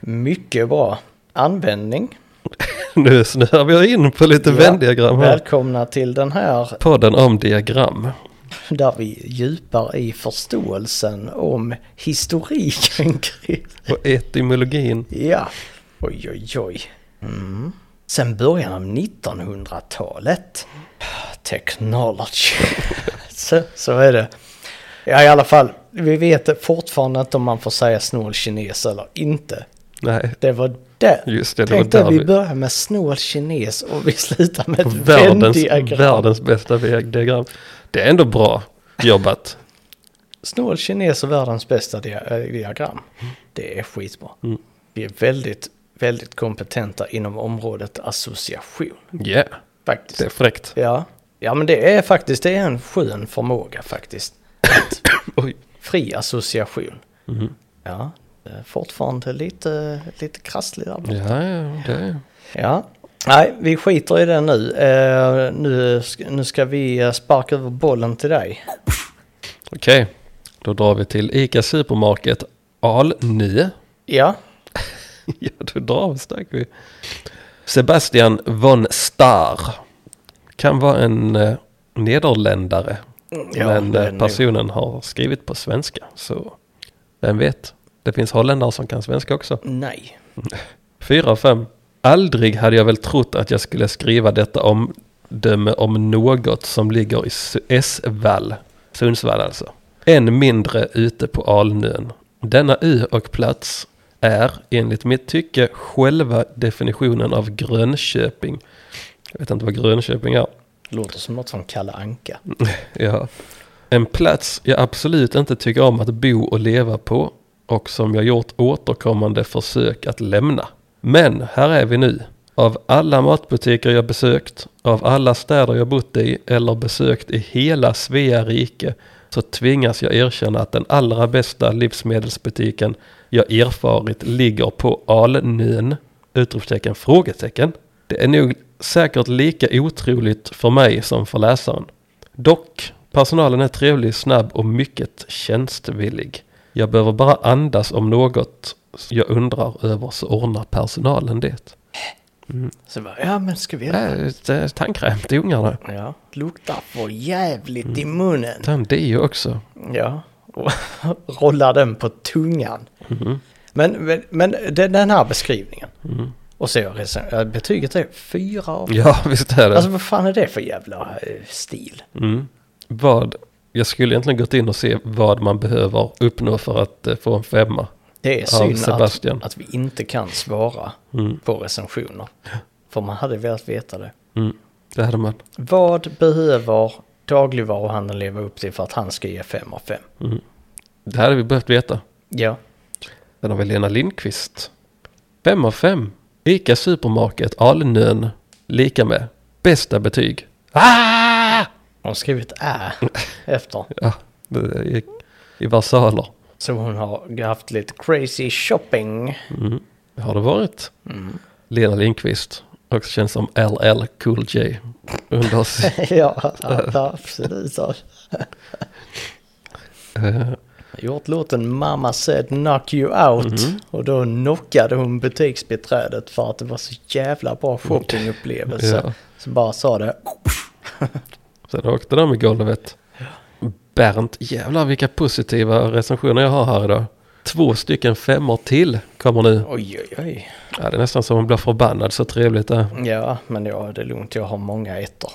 [SPEAKER 2] Mycket bra. Användning.
[SPEAKER 1] Nu snöar vi in på lite vändiagram här.
[SPEAKER 2] Välkomna till den här
[SPEAKER 1] Podden om diagram.
[SPEAKER 2] där vi djupar i förståelsen om historiken kring
[SPEAKER 1] Och etymologin.
[SPEAKER 2] Ja, oj oj oj. Mm. Sen början av 1900-talet. Technology. så, så är det. Ja, i alla fall. Vi vet fortfarande inte om man får säga snål kines eller inte.
[SPEAKER 1] Nej,
[SPEAKER 2] Det var där.
[SPEAKER 1] just det. det var
[SPEAKER 2] Tänk dig
[SPEAKER 1] där
[SPEAKER 2] att vi
[SPEAKER 1] vi
[SPEAKER 2] började med snål kines och vi slutar med ett
[SPEAKER 1] världens,
[SPEAKER 2] vändiagram.
[SPEAKER 1] världens bästa diagram. Det är ändå bra jobbat.
[SPEAKER 2] Snål kines och världens bästa dia- eh, diagram. Det är skitbra. Vi är väldigt, väldigt kompetenta inom området association.
[SPEAKER 1] Ja,
[SPEAKER 2] Faktiskt.
[SPEAKER 1] det är fräckt.
[SPEAKER 2] Ja. ja, men det är faktiskt det är en skön förmåga faktiskt. Att
[SPEAKER 1] Oj. Mhm.
[SPEAKER 2] fri association. Ja, Det är Fortfarande lite, lite krasslig där. borta.
[SPEAKER 1] Ja, ja, det.
[SPEAKER 2] Ja. Nej, vi skiter i det nu. Eh, nu, sk- nu ska vi eh, sparka över bollen till dig.
[SPEAKER 1] Okej, då drar vi till ICA Supermarket Alnö.
[SPEAKER 2] Ja,
[SPEAKER 1] Ja, då drar vi, stack vi. Sebastian von Star. Kan vara en eh, nederländare.
[SPEAKER 2] ja,
[SPEAKER 1] men
[SPEAKER 2] det är
[SPEAKER 1] eh,
[SPEAKER 2] nog-
[SPEAKER 1] personen har skrivit på svenska. Så vem vet. Det finns holländare som kan svenska också.
[SPEAKER 2] Nej.
[SPEAKER 1] Fyra av fem. Aldrig hade jag väl trott att jag skulle skriva detta omdöme om något som ligger i Su- S-vall. Sundsvall alltså. Än mindre ute på Alnön. Denna ö och plats är enligt mitt tycke själva definitionen av Grönköping. Jag vet inte vad Grönköping är.
[SPEAKER 2] Låter som något som Kalle Anka.
[SPEAKER 1] Mm. Ja. En plats jag absolut inte tycker om att bo och leva på och som jag gjort återkommande försök att lämna. Men här är vi nu. Av alla matbutiker jag besökt, av alla städer jag bott i eller besökt i hela Svea rike så tvingas jag erkänna att den allra bästa livsmedelsbutiken jag erfarit ligger på Alnön. Utropstecken, frågetecken. Det är nog säkert lika otroligt för mig som för läsaren. Dock, personalen är trevlig, snabb och mycket tjänstvillig. Jag behöver bara andas om något jag undrar över så ordnar personalen det.
[SPEAKER 2] Så bara, ja men ska vi...
[SPEAKER 1] Äh, det- tandkräm till ungarna.
[SPEAKER 2] Ja, luktar för jävligt i munnen.
[SPEAKER 1] Tandeo också.
[SPEAKER 2] Ja, och rollar den på tungan.
[SPEAKER 1] Mm-hmm.
[SPEAKER 2] Men, men, men den den här beskrivningen. Och så är jag redan, ja, betyget är fyra av
[SPEAKER 1] Ja, visst är det.
[SPEAKER 2] Alltså vad fan är det för jävla eh, stil?
[SPEAKER 1] Mm. Vad, jag skulle egentligen gått in och se vad man behöver uppnå för att eh, få en femma.
[SPEAKER 2] Det är
[SPEAKER 1] Av
[SPEAKER 2] synd att,
[SPEAKER 1] Sebastian.
[SPEAKER 2] att vi inte kan svara på recensioner. För man hade velat veta det.
[SPEAKER 1] Mm. Det hade man.
[SPEAKER 2] Vad behöver dagligvaruhandeln leva upp till för att han ska ge fem av fem?
[SPEAKER 1] Det hade vi behövt veta.
[SPEAKER 2] Ja,
[SPEAKER 1] Den har vi Lena Lindqvist. Fem av fem. Ica Supermarket Alnön. Lika med. Bästa betyg. Ah!
[SPEAKER 2] hon har skrivit ä efter.
[SPEAKER 1] Ja, det gick i versaler.
[SPEAKER 2] Så hon har haft lite crazy shopping.
[SPEAKER 1] Det har det varit. Lena Lindqvist. Också känns som LL Cool J. Under sin
[SPEAKER 2] ja, absolut. Gjort låten Mamma said knock you out.
[SPEAKER 1] Mhm.
[SPEAKER 2] Och då knockade hon butiksbiträdet för att det var så jävla bra shoppingupplevelse.
[SPEAKER 1] Mm. Ja.
[SPEAKER 2] Så bara sa det.
[SPEAKER 1] Sen åkte de i golvet. Bernt, jävlar vilka positiva recensioner jag har här idag. Två stycken femmor till kommer nu.
[SPEAKER 2] Oj, oj, oj.
[SPEAKER 1] Ja, det är nästan som man blir förbannad så trevligt det är.
[SPEAKER 2] Ja, men ja, det är lugnt. Jag har många ettor.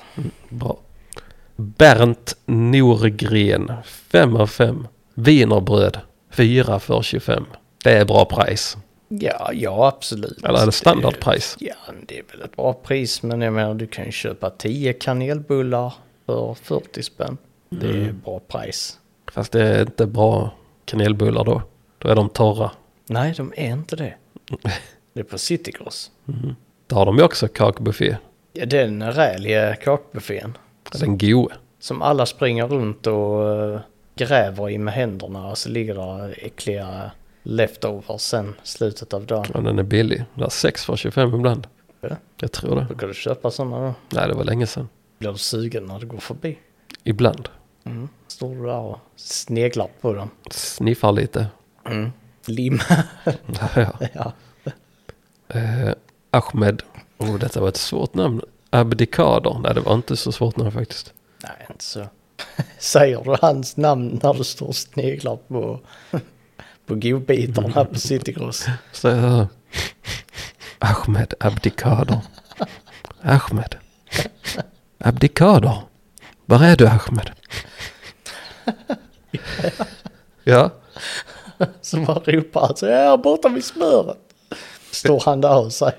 [SPEAKER 1] Bra. Bernt Norgren, 5 av 5. Wienerbröd, 4 för 25. Det är bra pris.
[SPEAKER 2] Ja, ja, absolut.
[SPEAKER 1] Eller är det standardpris?
[SPEAKER 2] Ja, men det är väl ett bra pris. Men jag menar, du kan ju köpa 10 kanelbullar för 40 spänn. Det är
[SPEAKER 1] Mm.
[SPEAKER 2] ju bra pris.
[SPEAKER 1] Fast det är inte bra kanelbullar då. Då är de torra.
[SPEAKER 2] Nej, de är inte det. Det är på Citygross.
[SPEAKER 1] Då har de ju också kakbuffé.
[SPEAKER 2] Ja, det är den räliga kakbuffén.
[SPEAKER 1] Den god.
[SPEAKER 2] Som alla springer runt och eh, gräver i med händerna och så ligger där äckliga leftovers sen slutet av dagen.
[SPEAKER 1] Ja, den är billig. Det är 6 för 25 ibland.
[SPEAKER 2] Ja.
[SPEAKER 1] Jag tror det.
[SPEAKER 2] Brukar du köpa sådana då?
[SPEAKER 1] Nej, det var länge sedan.
[SPEAKER 2] Blir du sugen när du går förbi?
[SPEAKER 1] Ibland.
[SPEAKER 2] Står du där och sneglar på dem?
[SPEAKER 1] Sniffar lite.
[SPEAKER 2] Lim.
[SPEAKER 1] ja.
[SPEAKER 2] ja.
[SPEAKER 1] eh, Ahmed. Oh, detta var ett svårt namn. Abdikader. Nej, det var inte så svårt namn faktiskt.
[SPEAKER 2] Nej, inte så. Säger du hans namn när du står och sneglar på, på godbitarna på Citygross?
[SPEAKER 1] Så jag hör. Ahmed Abdikader. Ahmed. Abdikader. Var är du Ahmed? ja.
[SPEAKER 2] Som han ropar alltså, jag är borta vid smöret. Står han där och säger.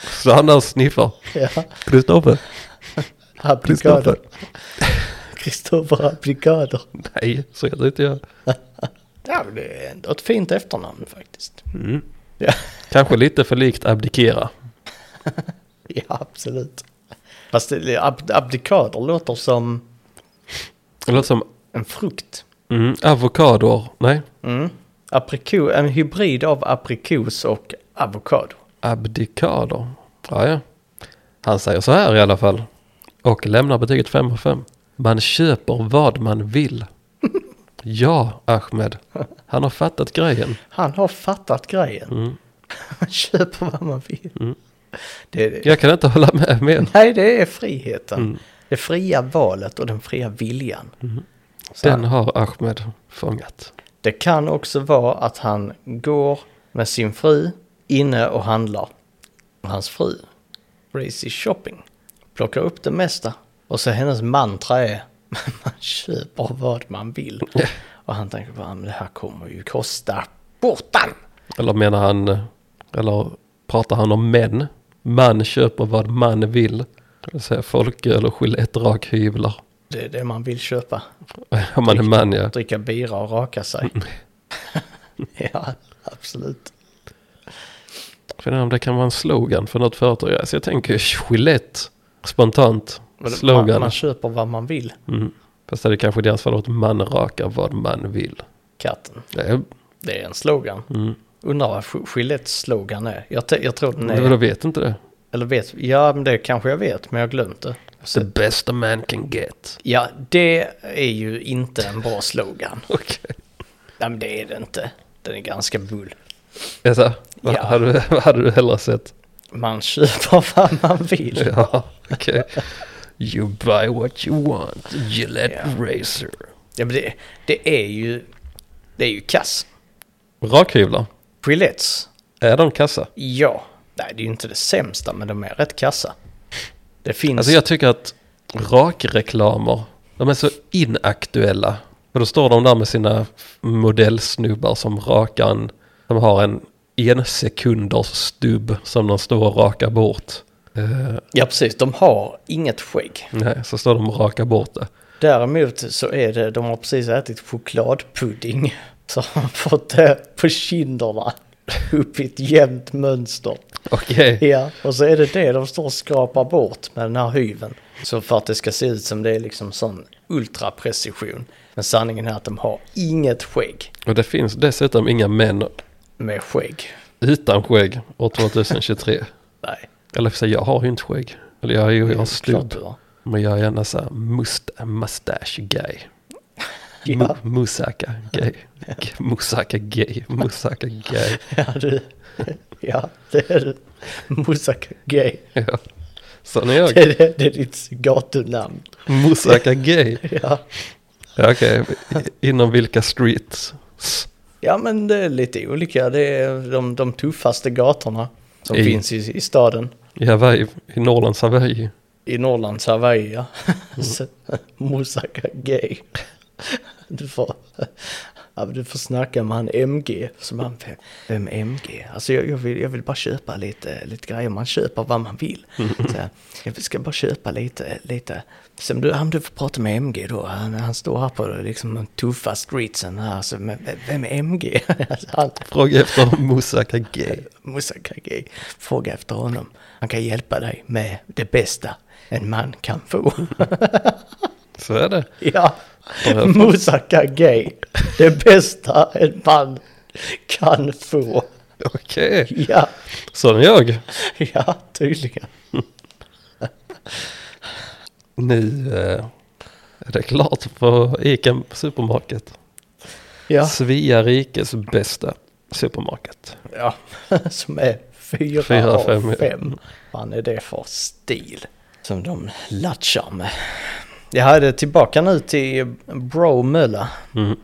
[SPEAKER 1] Så han där sniffar.
[SPEAKER 2] Ja,
[SPEAKER 1] Kristoffer.
[SPEAKER 2] Abdikader. Kristoffer Abdikader.
[SPEAKER 1] Nej, så heter inte jag.
[SPEAKER 2] Ja, men det är ändå ett fint efternamn faktiskt.
[SPEAKER 1] Mm. Kanske lite för likt abdikera.
[SPEAKER 2] Ja, absolut. Fast det, ab, abdikader låter som
[SPEAKER 1] Det låter som
[SPEAKER 2] en frukt.
[SPEAKER 1] mm, avokador. Nej.
[SPEAKER 2] Mm. Apriko, en hybrid av aprikos och avokado.
[SPEAKER 1] Abdikader. Ja, ja. Han säger så här i alla fall. Och lämnar betyget 5 av 5. Man köper vad man vill. Ja, Ahmed. Han har fattat grejen.
[SPEAKER 2] Han har fattat grejen.
[SPEAKER 1] Mm.
[SPEAKER 2] Man köper vad man vill.
[SPEAKER 1] Mm.
[SPEAKER 2] Det, det,
[SPEAKER 1] Jag kan inte hålla med mer.
[SPEAKER 2] Nej, det är friheten.
[SPEAKER 1] Mm.
[SPEAKER 2] Det fria valet och den fria viljan. Så
[SPEAKER 1] Den har Ahmed fångat.
[SPEAKER 2] Det kan också vara att han går med sin fru inne och handlar. Och hans fru, Racy Shopping, plockar upp det mesta. Och så hennes mantra är man köper vad man vill. Och han tänker bara, men det här kommer ju kosta skjortan.
[SPEAKER 1] Eller menar han, eller pratar han om män? Man köper vad man vill. Det vill säga folköl och Gillette rakhyvlar.
[SPEAKER 2] Det är det man vill köpa.
[SPEAKER 1] Om man är man ja.
[SPEAKER 2] Dricka bira och raka sig.
[SPEAKER 1] Mm.
[SPEAKER 2] ja, absolut.
[SPEAKER 1] Jag vet inte om det kan vara en slogan för något företag. Alltså jag tänker Gillette spontant.
[SPEAKER 2] Men det- Man,
[SPEAKER 1] slogan.
[SPEAKER 2] man köper vad man vill,
[SPEAKER 1] Mm. Fast det är kanske i deras fall att man rakar vad man vill.
[SPEAKER 2] katten.
[SPEAKER 1] Det är,
[SPEAKER 2] Det är en slogan.
[SPEAKER 1] mm.
[SPEAKER 2] Undrar vad Gi- Gillettes slogan är. Jag, te- jag tror den är...
[SPEAKER 1] Jag vet inte det.
[SPEAKER 2] Eller vet... Ja, men det kanske jag vet, men jag har glömt det.
[SPEAKER 1] The best a man can get.
[SPEAKER 2] Ja, det är ju inte en bra slogan.
[SPEAKER 1] Okej.
[SPEAKER 2] Nej, men det är det inte. Den är ganska bull.
[SPEAKER 1] Alltså, vad,
[SPEAKER 2] Ja.
[SPEAKER 1] hade, du- vad hade du hellre sett?
[SPEAKER 2] Man köper vad man vill.
[SPEAKER 1] Ja, okej. You buy what you want. Gillette
[SPEAKER 2] Ja.
[SPEAKER 1] Razer.
[SPEAKER 2] Ja, men det, det är ju... Det är ju kass.
[SPEAKER 1] Rakhyvlar.
[SPEAKER 2] Gillettes,
[SPEAKER 1] Är de kassa?
[SPEAKER 2] ja. Nej, det är ju inte det sämsta, men de är rätt kassa. Det finns...
[SPEAKER 1] Alltså jag tycker att rakreklamer, de är så inaktuella. För då står de där med sina modellsnubbar som rakar en, som har en ensekunders stubb som de står och rakar bort. Eh,
[SPEAKER 2] Ja, precis. De har inget skägg.
[SPEAKER 1] nej, så står de och rakar bort det.
[SPEAKER 2] Däremot så är det, de har precis ätit chokladpudding. Så har de fått det på kinderna. Upp i ett jämnt mönster.
[SPEAKER 1] Okej,
[SPEAKER 2] Ja, och så är det det de står och skrapar bort med den här hyven. Så för att det ska se ut som det är liksom sån ultraprecision. Men sanningen är att de har inget skägg
[SPEAKER 1] och det finns dessutom inga män
[SPEAKER 2] med skägg.
[SPEAKER 1] utan skägg år 2023.
[SPEAKER 2] Nej,
[SPEAKER 1] Eller för sig, jag har ju inte skägg. Eller jag, är ju- jag har
[SPEAKER 2] klart
[SPEAKER 1] stubb.
[SPEAKER 2] du har.
[SPEAKER 1] Men jag är gärna så här must, mustache guy.
[SPEAKER 2] Ja.
[SPEAKER 1] Mu- Musaka gay. G- Musaka gay. Musaka gay.
[SPEAKER 2] Ja, du. Ja, det är du. Moussaka Gay.
[SPEAKER 1] Ja. Sån är
[SPEAKER 2] Det
[SPEAKER 1] jag.
[SPEAKER 2] är, det, det är ditt gatunamn.
[SPEAKER 1] Musaka gay.
[SPEAKER 2] Ja.
[SPEAKER 1] Ja, Okej, I- inom vilka streets? S-
[SPEAKER 2] Ja, men det är lite olika. Det är de, de tuffaste gatorna som
[SPEAKER 1] I-
[SPEAKER 2] finns i, i staden.
[SPEAKER 1] I Hawaii, i Norrlands Hawaii.
[SPEAKER 2] I Norrlands Hawaii, ja. Så- Moussaka Gay. Du får, ja, men du får snacka med han MG. Som han, vem MG? Alltså jag, jag, vill, jag vill bara köpa lite, lite grejer. Man köper vad man vill. Så här, jag ska bara köpa lite. lite. Sen du, han, du får prata med MG då. Han, han står här på liksom, de tuffa streetsen. Här, alltså, men, vem- vem är MG? Alltså, han,
[SPEAKER 1] Fråga efter Musaka gay.
[SPEAKER 2] Musa Kage, fråga efter honom. Han kan hjälpa dig med det bästa en man kan få.
[SPEAKER 1] Så är det.
[SPEAKER 2] ja,
[SPEAKER 1] Bra.
[SPEAKER 2] Musa Kage, det bästa en man kan få.
[SPEAKER 1] Okej,
[SPEAKER 2] Ja,
[SPEAKER 1] sån är jag.
[SPEAKER 2] ja, tydligen.
[SPEAKER 1] Nu eh, är det klart för Ica Supermarket.
[SPEAKER 2] Ja,
[SPEAKER 1] Svea rikes bästa supermarket.
[SPEAKER 2] ja. som är fyra,
[SPEAKER 1] Fyra av
[SPEAKER 2] av
[SPEAKER 1] fem,
[SPEAKER 2] fem.
[SPEAKER 1] ja.
[SPEAKER 2] Vad är det för stil som de latchar med? Jag hade tillbaka nu till Bromölla.
[SPEAKER 1] Mm.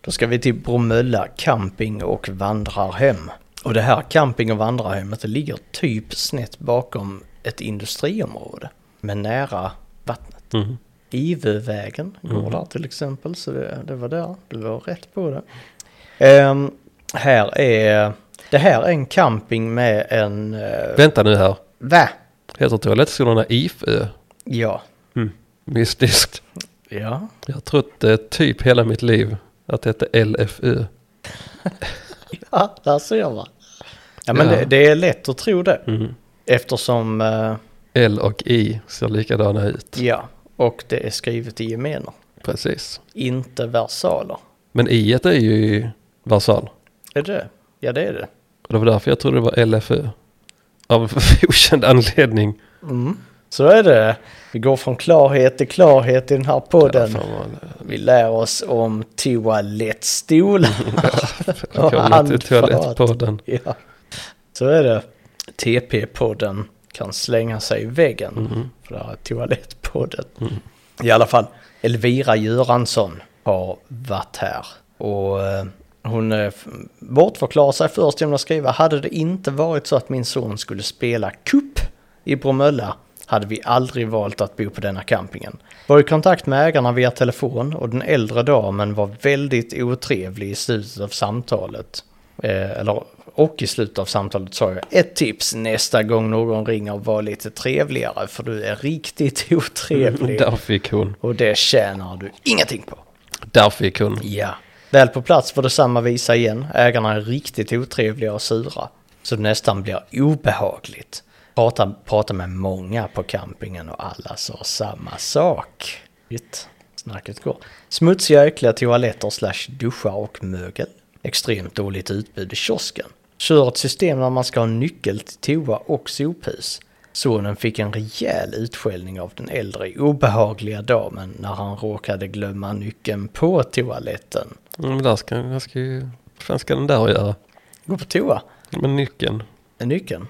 [SPEAKER 2] Då ska vi till Bromölla camping och vandrarhem. Och det här camping och vandrarhemmet det ligger typ snett bakom ett industriområde. Men nära vattnet.
[SPEAKER 1] Mm.
[SPEAKER 2] Ivövägen går där till exempel. Så det, det var där. Du var rätt på det. Ehm, här är... Det här är en camping med en... Uh,
[SPEAKER 1] Vänta nu här.
[SPEAKER 2] va?
[SPEAKER 1] Heter toalettskolorna IFÖ?
[SPEAKER 2] Ja.
[SPEAKER 1] Mystiskt.
[SPEAKER 2] Ja.
[SPEAKER 1] Jag har trott eh, typ hela mitt liv att det hette LFU.
[SPEAKER 2] Ja, där ser man. Ja, men
[SPEAKER 1] Ja.
[SPEAKER 2] Det, det är lätt att tro det.
[SPEAKER 1] Mm.
[SPEAKER 2] Eftersom... eh,
[SPEAKER 1] L och I ser likadana ut.
[SPEAKER 2] Ja, och det är skrivet i gemener,
[SPEAKER 1] Precis.
[SPEAKER 2] inte versaler.
[SPEAKER 1] Men I är ju i Varsal.
[SPEAKER 2] Är det det? Ja, det är det.
[SPEAKER 1] Och det var därför jag trodde det var LFÖ. Av okänd anledning.
[SPEAKER 2] Mm. Så är det. Vi går från klarhet till klarhet i den här podden.
[SPEAKER 1] Ja, fan vad-
[SPEAKER 2] Vi lär oss om toalettstolar.
[SPEAKER 1] Jag kommer till toalettpodden.
[SPEAKER 2] Ja. Så är det. TP-podden kan slänga sig i väggen. För det här är toalettpodden. I alla fall, Elvira Göransson har varit här. Och eh, hon eh, f- bortförklarar sig först genom att skriva Hade det inte varit så att min son skulle spela kupp i Bromölla hade vi aldrig valt att bo på denna campingen. Var i kontakt med ägarna via telefon och den äldre damen var väldigt otrevlig i slutet av samtalet. Eh, eller, och i slutet av samtalet sa jag ett tips nästa gång någon ringer var lite trevligare för du är riktigt otrevlig.
[SPEAKER 1] Där fick hon.
[SPEAKER 2] Och det tjänar du ingenting på.
[SPEAKER 1] Där fick hon.
[SPEAKER 2] Ja. Väl på plats var det samma visa igen. Ägarna är riktigt otrevliga och sura. Så det nästan blir obehagligt. Prata, prata med många på campingen och alla sa samma sak. Shit. Snacket går. Smutsiga äckliga toaletter slash duschar och mögel. Extremt dåligt utbud i kiosken. Kör ett system där man ska ha nyckel till toa och sophus. Sonen fick en rejäl utskällning av den äldre obehagliga damen när han råkade glömma nyckeln på toaletten.
[SPEAKER 1] Men Mm, där ska, där ska ju... Vad fan ska den där göra?
[SPEAKER 2] Gå på toa?
[SPEAKER 1] Men nyckeln.
[SPEAKER 2] Är nyckeln?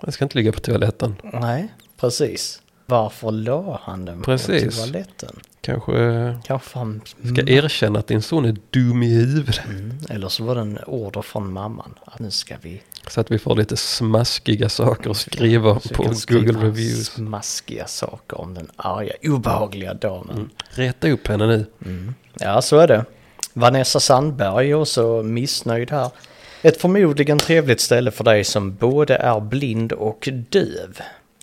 [SPEAKER 1] Den ska inte ligga på toaletten.
[SPEAKER 2] Nej, precis. Varför la han den på
[SPEAKER 1] Precis.
[SPEAKER 2] toaletten?
[SPEAKER 1] Kanske eh,
[SPEAKER 2] Kanske han...
[SPEAKER 1] ska erkänna att din son är dum i huvudet.
[SPEAKER 2] Mm. Eller så var det en order från mamman. Att nu ska vi...
[SPEAKER 1] Så att vi får lite smaskiga saker att skriva
[SPEAKER 2] Så vi
[SPEAKER 1] på
[SPEAKER 2] kan
[SPEAKER 1] Google
[SPEAKER 2] skriva
[SPEAKER 1] Reviews.
[SPEAKER 2] Smaskiga saker om den arga, obehagliga damen.
[SPEAKER 1] Reta upp henne nu.
[SPEAKER 2] Ja, så är det. Vanessa Sandberg är också missnöjd här. Ett förmodligen trevligt ställe för dig som både är blind och döv.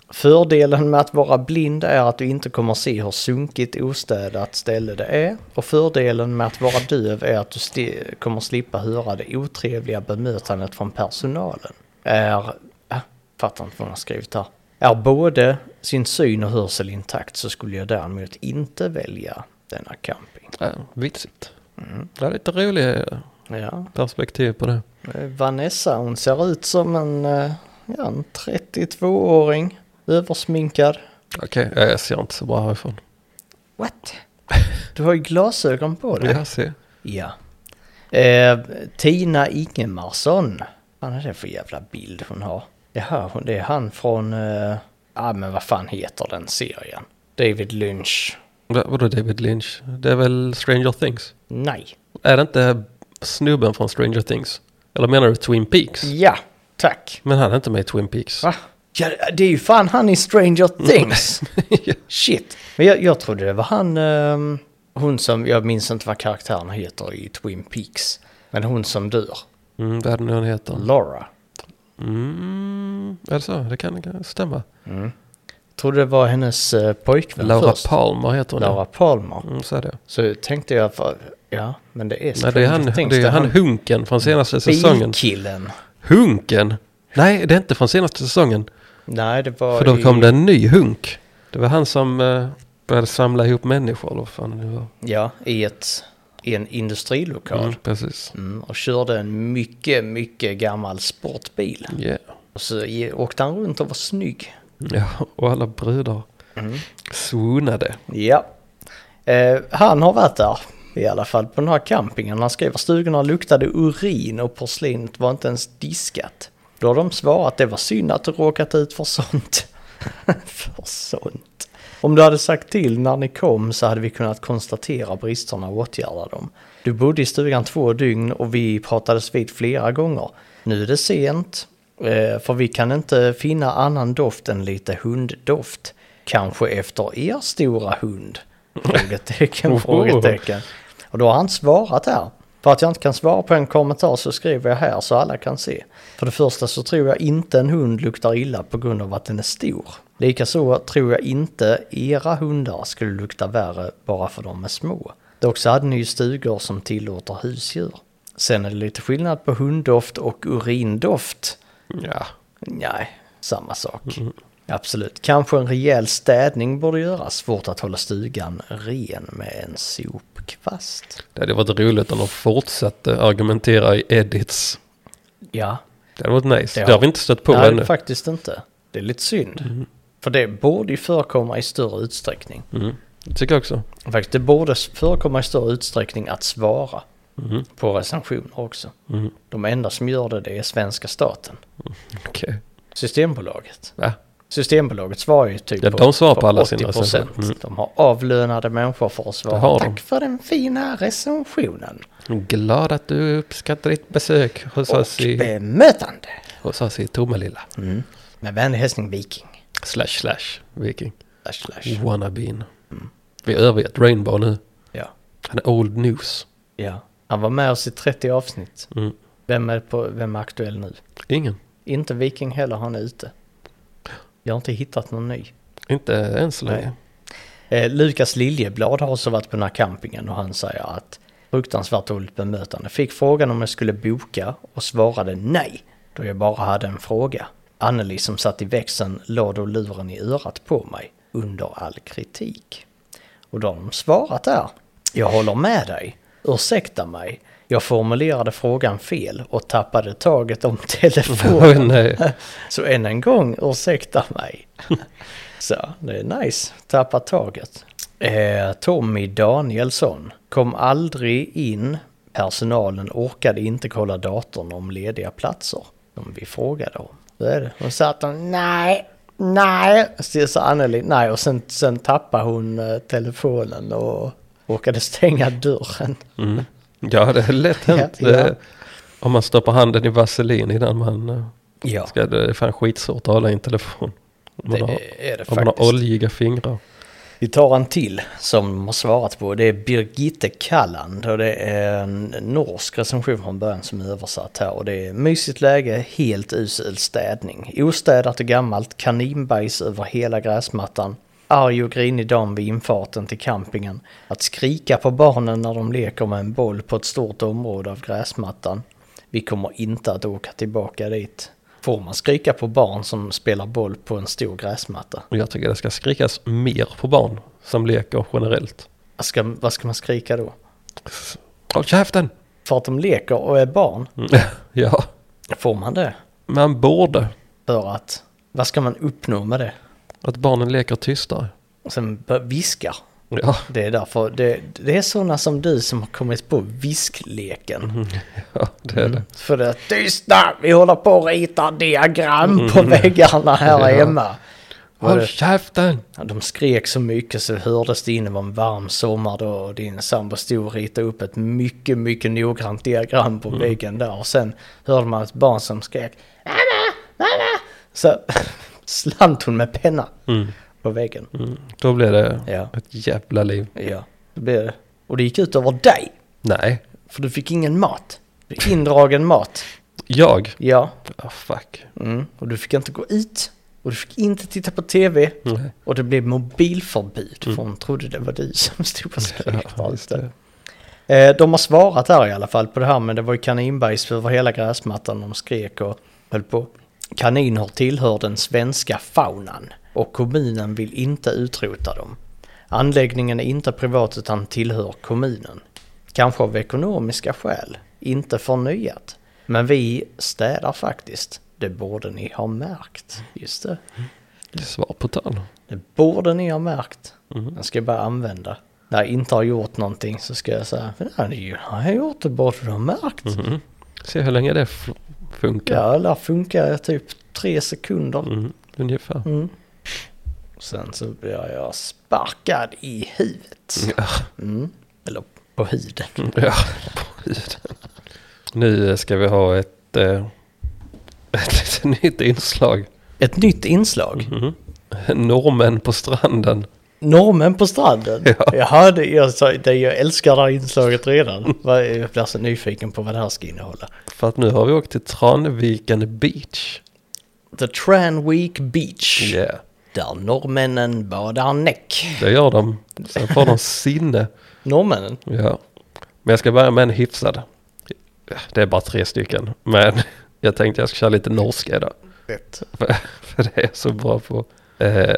[SPEAKER 2] Fördelen med att vara blind är att du inte kommer se hur sunkigt ostädat ställe det är. Och fördelen med att vara döv är att du sti- kommer slippa höra det otrevliga bemötandet från personalen. Är... Äh, fattar inte vad hon har skrivit här. Är både sin syn och hörsel intakt så skulle jag däremot inte välja denna camping.
[SPEAKER 1] Ja, vitsigt.
[SPEAKER 2] Mm.
[SPEAKER 1] Det är lite roliga
[SPEAKER 2] Ja,
[SPEAKER 1] perspektiv på det.
[SPEAKER 2] eh, Vanessa hon ser ut som en, eh, ja, en 32-åring. Översminkad.
[SPEAKER 1] Okej, ja, jag ser inte så bra härifrån.
[SPEAKER 2] What? Du har ju glasögon på dig.
[SPEAKER 1] Ja, se.
[SPEAKER 2] Ja. Eh, Tina Ingemarsson. Vad är det för jävla bild hon har? Jaha, hon- det är han från... eh, ah, men vad fan heter den serien? David Lynch.
[SPEAKER 1] Va- Vadå David Lynch? Det är väl Stranger Things?
[SPEAKER 2] Nej.
[SPEAKER 1] Är det inte snubben från Stranger Things? Eller menar du Twin Peaks?
[SPEAKER 2] Ja, tack.
[SPEAKER 1] Men han är inte med i Twin Peaks.
[SPEAKER 2] Va? Ja, det är ju fan han i Stranger
[SPEAKER 1] Mm.
[SPEAKER 2] Things. Shit. Men jag, jag trodde det var han, ehm, hon som, jag minns inte vad karaktären heter i Twin Peaks. Men hon som dör,
[SPEAKER 1] Mm, vad är det nu han heter?
[SPEAKER 2] Laura.
[SPEAKER 1] Mm, är det så? Det kan, kan stämma.
[SPEAKER 2] Trodde det var hennes eh, pojkvän
[SPEAKER 1] Laura
[SPEAKER 2] först.
[SPEAKER 1] Palmer heter hon. ja.
[SPEAKER 2] Laura Palmer.
[SPEAKER 1] Mm, så är det.
[SPEAKER 2] Så tänkte jag, för, ja, men det är
[SPEAKER 1] Nej, det är han, det är han Hunken från senaste säsongen.
[SPEAKER 2] Bilkillen.
[SPEAKER 1] Hunken? Nej, det är inte från senaste säsongen.
[SPEAKER 2] Nej, det var
[SPEAKER 1] För då
[SPEAKER 2] i-
[SPEAKER 1] kom det en ny hunk. Det var han som eh, började samla ihop människor. Eller vad fan det nu var.
[SPEAKER 2] Ja, i, ett, i en industrilokal.
[SPEAKER 1] Mm, precis.
[SPEAKER 2] Mm, och körde en mycket, mycket gammal sportbil.
[SPEAKER 1] Yeah.
[SPEAKER 2] Och så ge- åkte han runt och var snygg.
[SPEAKER 1] Mm. Ja, och alla brudar Mm. swoonade.
[SPEAKER 2] Ja. Eh, han har varit där. I alla fall på den här campingen. Han skriver stugorna luktade urin och porslinet var inte ens diskat. Då har de svarat det var synd att du råkat ut för sånt. för sånt. Om du hade sagt till när ni kom så hade vi kunnat konstatera bristerna och åtgärda dem. Du bodde i stugan två dygn och vi pratades vid flera gånger. Nu är det sent, eh, för vi kan inte finna annan doft än lite hunddoft. Kanske efter er stora hund? Frågetecken,
[SPEAKER 1] Oho.
[SPEAKER 2] frågetecken. Och då har han svarat här. För att jag inte kan svara på en kommentar så skriver jag här så alla kan se. För det första så tror jag inte en hund luktar illa på grund av att den är stor. Likaså tror jag inte era hundar skulle lukta värre bara för de är små. Dock så hade ni ju stugor som tillåter husdjur. Sen är det lite skillnad på hunddoft och urindoft.
[SPEAKER 1] Ja,
[SPEAKER 2] Nej, samma sak. Absolut. Kanske en rejäl städning borde göras. Svårt att hålla stugan ren med en sopkvast.
[SPEAKER 1] Det hade varit roligt om de fortsatte argumentera i edits.
[SPEAKER 2] Ja,
[SPEAKER 1] Det hade varit nice.
[SPEAKER 2] Ja.
[SPEAKER 1] Det har vi inte stött på Mm.
[SPEAKER 2] Nej,
[SPEAKER 1] ännu.
[SPEAKER 2] faktiskt inte. Det är lite synd. För det borde ju förekomma i större utsträckning.
[SPEAKER 1] Mm. Det tycker jag också.
[SPEAKER 2] Faktiskt, det borde förekomma i större utsträckning att svara på recensioner också.
[SPEAKER 1] Mm.
[SPEAKER 2] De enda som gör det, det är svenska staten.
[SPEAKER 1] Okej.
[SPEAKER 2] Systembolaget.
[SPEAKER 1] Va?
[SPEAKER 2] Systembolaget svarar ju typ
[SPEAKER 1] Ja,
[SPEAKER 2] på,
[SPEAKER 1] de svarar
[SPEAKER 2] på
[SPEAKER 1] på alla
[SPEAKER 2] 80%.
[SPEAKER 1] sina recensioner. Mm.
[SPEAKER 2] De har avlönade människor för att
[SPEAKER 1] Det har de.
[SPEAKER 2] svara. Tack för den fina recensionen.
[SPEAKER 1] Glad att du uppskattar ditt besök hos oss,
[SPEAKER 2] Och
[SPEAKER 1] i,
[SPEAKER 2] bemötande. Mm.
[SPEAKER 1] hos oss i Tomelilla.
[SPEAKER 2] Med vänlig hälsning Viking.
[SPEAKER 1] Slash slash viking. Mm.
[SPEAKER 2] Slash, slash. Mm.
[SPEAKER 1] Wannabeen. Vi har övergett Rainbow nu.
[SPEAKER 2] Ja.
[SPEAKER 1] Han är old news.
[SPEAKER 2] ja. Han var med oss i 30 avsnitt.
[SPEAKER 1] Mm.
[SPEAKER 2] Vem, är på, vem är aktuell nu?
[SPEAKER 1] Ingen.
[SPEAKER 2] Inte Viking heller, han är ute. Jag har inte hittat någon ny.
[SPEAKER 1] Inte än så
[SPEAKER 2] Nej.
[SPEAKER 1] länge.
[SPEAKER 2] Eh, Lukas Liljeblad har också varit på den här campingen och han säger att fruktansvärt dåligt bemötande. Fick frågan om jag skulle boka och svarade nej, då jag bara hade en fråga. Anneli som satt i växeln la då luren i örat på mig under all kritik. Och då har de svarat där. Jag håller med dig. Ursäkta mig. Jag formulerade frågan fel och tappade taget om telefonen.
[SPEAKER 1] Oj, nej.
[SPEAKER 2] Så än en gång, ursäkta mig. Så, det är nice. Tappa taget. Eh, Tommy Danielsson. Kom aldrig in. Personalen orkade inte kolla datorn om lediga platser. Som vi frågade om. Så är det. Hon satt och nej, nej. Så sa Anneli nej. Och sen, sen tappade hon eh, telefonen och orkade stänga dörren.
[SPEAKER 1] Mm. Ja, det är lätt hänt.
[SPEAKER 2] Ja, ja.
[SPEAKER 1] Det- Om man stoppar handen i vaselin innan man eh,
[SPEAKER 2] Ja,
[SPEAKER 1] ska, det är fan skitsvårt att hålla i en telefon. Om
[SPEAKER 2] det
[SPEAKER 1] man, har,
[SPEAKER 2] är det
[SPEAKER 1] om man har
[SPEAKER 2] faktiskt.
[SPEAKER 1] oljiga fingrar.
[SPEAKER 2] Vi tar en till som de har svarat på. Det är Birgitte Kalland och det är en norsk recension från början som är översatt här. Och det är mysigt läge, helt usel städning. Ostädat och gammalt, kaninbajs över hela gräsmattan. Arg och grinig dam vid infarten till campingen. Att skrika på barnen när de leker med en boll på ett stort område av gräsmattan. Vi kommer inte att åka tillbaka dit. Får man skrika på barn som spelar boll på en stor gräsmatta?
[SPEAKER 1] Och jag tycker det ska skrikas mer på barn som leker generellt.
[SPEAKER 2] Vad ska, vad ska man skrika då?
[SPEAKER 1] Håll käften!
[SPEAKER 2] För att de leker och är barn?
[SPEAKER 1] ja,
[SPEAKER 2] Får man det?
[SPEAKER 1] man borde.
[SPEAKER 2] För att, vad ska man uppnå med det?
[SPEAKER 1] Att barnen leker tystare.
[SPEAKER 2] Och sen bör- viskar.
[SPEAKER 1] Ja,
[SPEAKER 2] Det är därför, det, det är sådana som du som har kommit på viskleken.
[SPEAKER 1] ja det är det.
[SPEAKER 2] För det, tysta! Vi håller på att rita diagram på väggarna här
[SPEAKER 1] Ja.
[SPEAKER 2] hemma. Var
[SPEAKER 1] Håll
[SPEAKER 2] det-
[SPEAKER 1] käften!
[SPEAKER 2] Ja, De skrek så mycket så hördes det in, det var en varm sommar då och din sambo stod och ritade upp ett mycket, mycket noggrant diagram
[SPEAKER 1] Mm.
[SPEAKER 2] på väggen där och sen hörde man ett barn som skrek Mamma, mamma! Så slant hon med penna på väggen.
[SPEAKER 1] Mm, då blir det
[SPEAKER 2] Ja.
[SPEAKER 1] ett jävla liv.
[SPEAKER 2] Ja, det blev det. Och det gick ut över dig,
[SPEAKER 1] Nej,
[SPEAKER 2] för du fick ingen mat. Du fick Indragen mat.
[SPEAKER 1] jag?
[SPEAKER 2] Ja,
[SPEAKER 1] Ah, fuck.
[SPEAKER 2] mm. och du fick inte gå ut och du fick inte titta på tv.
[SPEAKER 1] Nej.
[SPEAKER 2] Och det blev mobilförbud för hon trodde det var du som stod och
[SPEAKER 1] Mm. Ja,
[SPEAKER 2] skrek. där
[SPEAKER 1] just
[SPEAKER 2] ute.
[SPEAKER 1] det.
[SPEAKER 2] Eh, De har svarat här i alla fall på det här men det var ju kaninbajs över hela gräsmattan de skrek och höll på. Kaniner tillhör den svenska faunan och kommunen vill inte utrota dem. Anläggningen är inte privat utan tillhör kommunen. Kanske av ekonomiska skäl, inte förnyat. Men vi städar faktiskt. Det borde ni ha märkt. Just det.
[SPEAKER 1] Det är Svar på tal.
[SPEAKER 2] Det borde ni ha märkt.
[SPEAKER 1] Mhm.
[SPEAKER 2] Den ska jag bara använda. När jag inte har gjort någonting så ska jag säga, "Men det här är ju- jag har gjort det borde du ha märkt.
[SPEAKER 1] Mm. Se hur länge det f- funkar.
[SPEAKER 2] Ja, det här funkar i typ tre sekunder.
[SPEAKER 1] Mm, ungefär.
[SPEAKER 2] Sen så blir jag sparkad i huvudet.
[SPEAKER 1] Ja.
[SPEAKER 2] Mm. Eller på huden.
[SPEAKER 1] Ja, på huden. Nu eh, ska vi ha ett, eh, ett lite nytt inslag.
[SPEAKER 2] Ett nytt inslag.
[SPEAKER 1] Mm. Normen på stranden.
[SPEAKER 2] Normen på stranden.
[SPEAKER 1] Ja.
[SPEAKER 2] Jaha, det, jag, sa- det, jag älskar det här inslaget
[SPEAKER 1] Mm.
[SPEAKER 2] redan. Vad- Jag blir så nyfiken på vad det här ska innehålla.
[SPEAKER 1] För att nu har vi åkt till Tranviken Beach.
[SPEAKER 2] The Tranwick Beach.
[SPEAKER 1] Yeah.
[SPEAKER 2] Där norrmännen badar näck.
[SPEAKER 1] Det gör de. Sen får de sinne.
[SPEAKER 2] Norrmännen?
[SPEAKER 1] Ja. Men jag ska börja med en hyfsad. Det är bara tre stycken. Men jag tänkte jag ska köra lite norska idag.
[SPEAKER 2] Rätt.
[SPEAKER 1] För, för det är jag så bra på. Eh,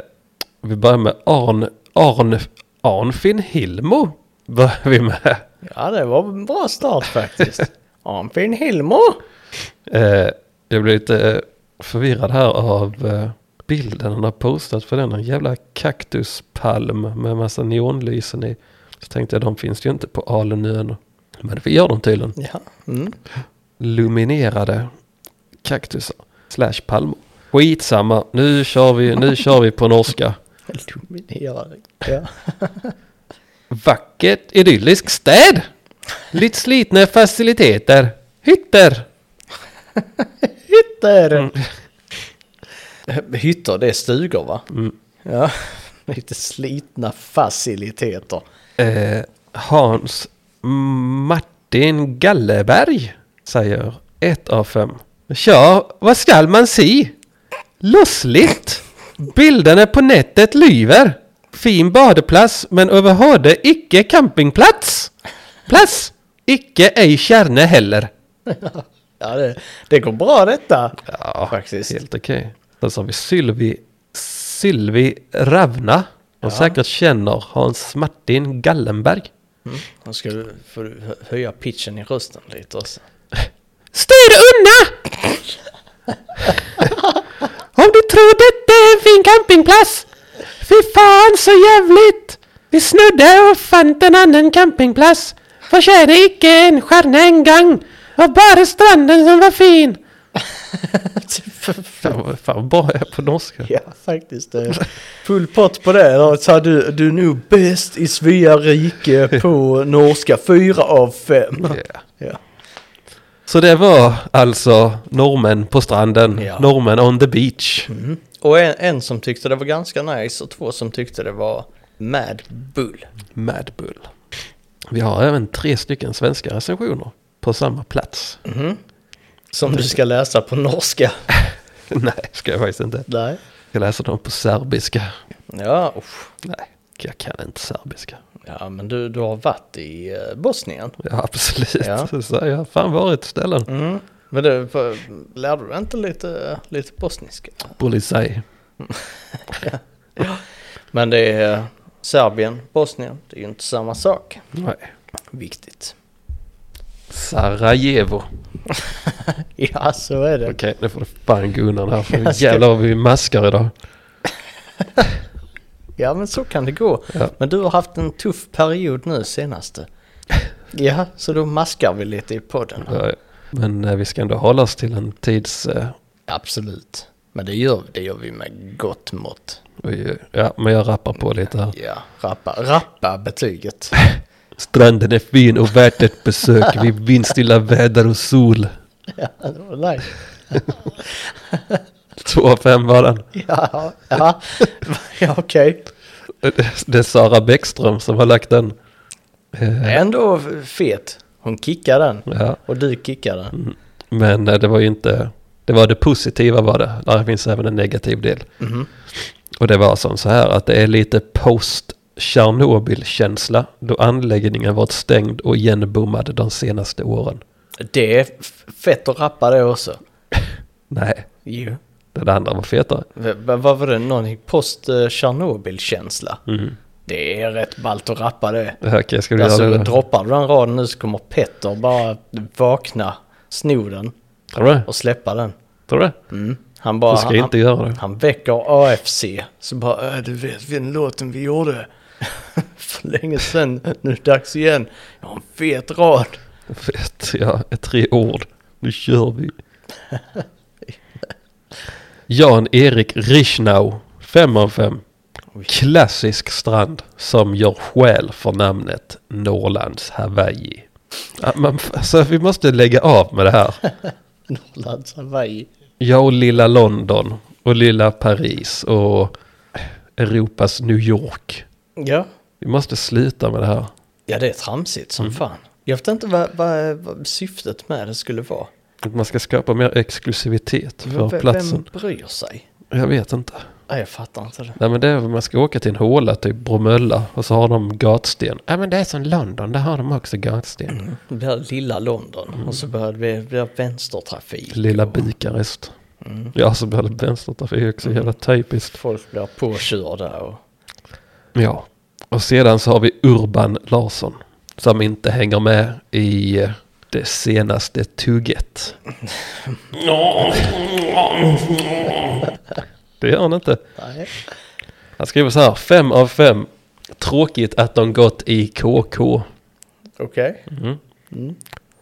[SPEAKER 1] vi börjar med Arn, Arn, Arnfinn Hilmo. Börjar vi med.
[SPEAKER 2] Ja, det var en bra start faktiskt. Arnfinn Hilmo!
[SPEAKER 1] Eh, jag blev lite eh, förvirrad här av eh, bilden han har postat för den. En jävla kaktuspalm med massa neonlysen i. Så tänkte jag de finns ju inte på Alunön. Men det gör de tydligen.
[SPEAKER 2] Ja, mm.
[SPEAKER 1] Luminerade kaktusar. Slash palmer. Skitsamma, nu kör vi, nu kör vi på norska.
[SPEAKER 2] Luminerade. Ja.
[SPEAKER 1] Vackert idyllisk städ. Lite slitna faciliteter. Hytter.
[SPEAKER 2] Hytter! Mm. Hytter, det är stugor va?
[SPEAKER 1] Mm.
[SPEAKER 2] Ja, lite slitna faciliteter.
[SPEAKER 1] Eh, Hans Martin Galleberg säger ett av fem. Ja, vad skall man se? Lossligt! Bilderna på nätet lyver. Fin badeplats, men överhuvudtaget icke campingplats. Plats! Icke ej kärne heller.
[SPEAKER 2] Ja, det, det går bra detta.
[SPEAKER 1] Ja,
[SPEAKER 2] Faktiskt.
[SPEAKER 1] Helt okej. Sen så har vi Sylvi, Sylvi Ravna. Hon
[SPEAKER 2] Ja.
[SPEAKER 1] säkert känner Hans Martin Gallenberg.
[SPEAKER 2] Nu ska du, får du hö- höja pitchen i rösten lite också.
[SPEAKER 1] Styr undan! Om du tror detta är en fin campingplats! Fy fan så jävligt! Vi snudde och fann en annan campingplats. Förtjänar icke en stjärna en gång. Och bara stranden som var fin. Fan vad bra jag är på norska.
[SPEAKER 2] ja, faktiskt. eh, Full pott på det. Då sa du, du är nog bäst i Svea rike på norska. Fyra av fem. Ja.
[SPEAKER 1] Så det var alltså normen på stranden.
[SPEAKER 2] Ja.
[SPEAKER 1] Normen on the beach.
[SPEAKER 2] Och en, en som tyckte det var ganska nice och två som tyckte det var Mad Bull.
[SPEAKER 1] Mad Bull. Vi har även tre stycken svenska recensioner på samma plats.
[SPEAKER 2] Som du ska läsa på norska.
[SPEAKER 1] Nej, ska jag faktiskt inte.
[SPEAKER 2] Nej.
[SPEAKER 1] Jag läser dem på serbiska.
[SPEAKER 2] Ja, usch.
[SPEAKER 1] Nej, jag kan inte serbiska.
[SPEAKER 2] ja men du, du har varit i eh, Bosnien.
[SPEAKER 1] Ja, absolut.
[SPEAKER 2] Ja.
[SPEAKER 1] Så jag har fan varit ställen.
[SPEAKER 2] Mm. Men det, för, lärde du dig inte lite, lite bosniska?
[SPEAKER 1] Polisaj.
[SPEAKER 2] Men det är Serbien, Bosnien, det är ju inte samma sak.
[SPEAKER 1] Nej.
[SPEAKER 2] Viktigt.
[SPEAKER 1] Sarajevo.
[SPEAKER 2] Ja, så är det.
[SPEAKER 1] Okej, nu får du fan gå undan här. För nu
[SPEAKER 2] Jag ska-
[SPEAKER 1] jävlar vad vi maskar idag.
[SPEAKER 2] Ja, men så kan det gå.
[SPEAKER 1] Ja.
[SPEAKER 2] Men du har haft en tuff period nu senaste. Ja, så då maskar vi lite i podden.
[SPEAKER 1] Ja, ja. Men eh, vi ska ändå hålla oss till en tids... Eh,
[SPEAKER 2] Absolut. Men det gör, det gör vi med gott mått.
[SPEAKER 1] oj, ja, men jag rappar på lite här.
[SPEAKER 2] Ja, rappa, rappa betyget.
[SPEAKER 1] Stranden är fin och värt ett besök vid vindstilla väder och sol.
[SPEAKER 2] Ja, det var nice.
[SPEAKER 1] Två av fem var den.
[SPEAKER 2] Ja, ja, ja okej.
[SPEAKER 1] Det är Sara Bäckström som har lagt den. Eh,
[SPEAKER 2] Ändå fet. Hon kickar den.
[SPEAKER 1] ja.
[SPEAKER 2] Och du kickar den.
[SPEAKER 1] Mm. Men eh, det var ju inte, det var det positiva var det. Där finns även en negativ del.
[SPEAKER 2] Mhm.
[SPEAKER 1] Och det var som så här att det är lite post Tjernobyl-känsla då anläggningen varit stängd och igenbommad de senaste åren.
[SPEAKER 2] Det är f- fett att rappa det också.
[SPEAKER 1] Nej,
[SPEAKER 2] Jo.
[SPEAKER 1] det andra var fetare.
[SPEAKER 2] V- v- Vad var det? Någon post eh, Tjernobyl-känsla?
[SPEAKER 1] Mm.
[SPEAKER 2] Det är rätt ballt att rappa det.
[SPEAKER 1] Okej, ska du
[SPEAKER 2] Mhm. alltså
[SPEAKER 1] göra det? då?
[SPEAKER 2] droppar du den raden nu så kommer Petter bara vakna, sno den
[SPEAKER 1] Tror du det?
[SPEAKER 2] och släppa den.
[SPEAKER 1] Tror du det?
[SPEAKER 2] Mm. Han
[SPEAKER 1] Du
[SPEAKER 2] bara...
[SPEAKER 1] ska
[SPEAKER 2] Han,
[SPEAKER 1] inte göra det.
[SPEAKER 2] han väcker AFC. Så bara, äh, du vet den låten vi gjorde för länge sedan. Nu är det dags igen. Jag har en fet rad.
[SPEAKER 1] Fett, ja, ett tre ord. Nu kör vi. Jan-Erik Richnau, fem av fem. Klassisk strand som gör skäl för namnet Norrlands Hawaii. Ja, men, f- alltså, vi måste lägga av med det här.
[SPEAKER 2] Norrlands Hawaii.
[SPEAKER 1] Jag och lilla London och lilla Paris och Europas New York.
[SPEAKER 2] Ja.
[SPEAKER 1] Vi måste sluta med det här.
[SPEAKER 2] Ja, det är tramsigt som
[SPEAKER 1] Mm.
[SPEAKER 2] fan. Jag vet inte vad, vad, vad syftet med det skulle vara.
[SPEAKER 1] Att man ska skapa mer exklusivitet för
[SPEAKER 2] vem,
[SPEAKER 1] platsen.
[SPEAKER 2] vem bryr sig?
[SPEAKER 1] Jag vet inte.
[SPEAKER 2] Nej, jag fattar inte det.
[SPEAKER 1] Nej men det är väl man ska åka till en håla, typ Bromölla, och så har de gatsten. Ja men det är som London, där har de också gatsten. Mm.
[SPEAKER 2] Det blir lilla London och så börjar det bli blir vänstertrafik.
[SPEAKER 1] Lilla
[SPEAKER 2] och,
[SPEAKER 1] Bukarest. Ja, så blev det vänstertrafik det är också, jävla typiskt.
[SPEAKER 2] Folk blir påkörda och...
[SPEAKER 1] Ja. Och sedan så har vi Urban Larsson. Som inte hänger med i eh, det senaste tugget. Det gör han inte.
[SPEAKER 2] Nej.
[SPEAKER 1] Han skriver så här, fem av fem. Tråkigt att de gått i KK.
[SPEAKER 2] Okej.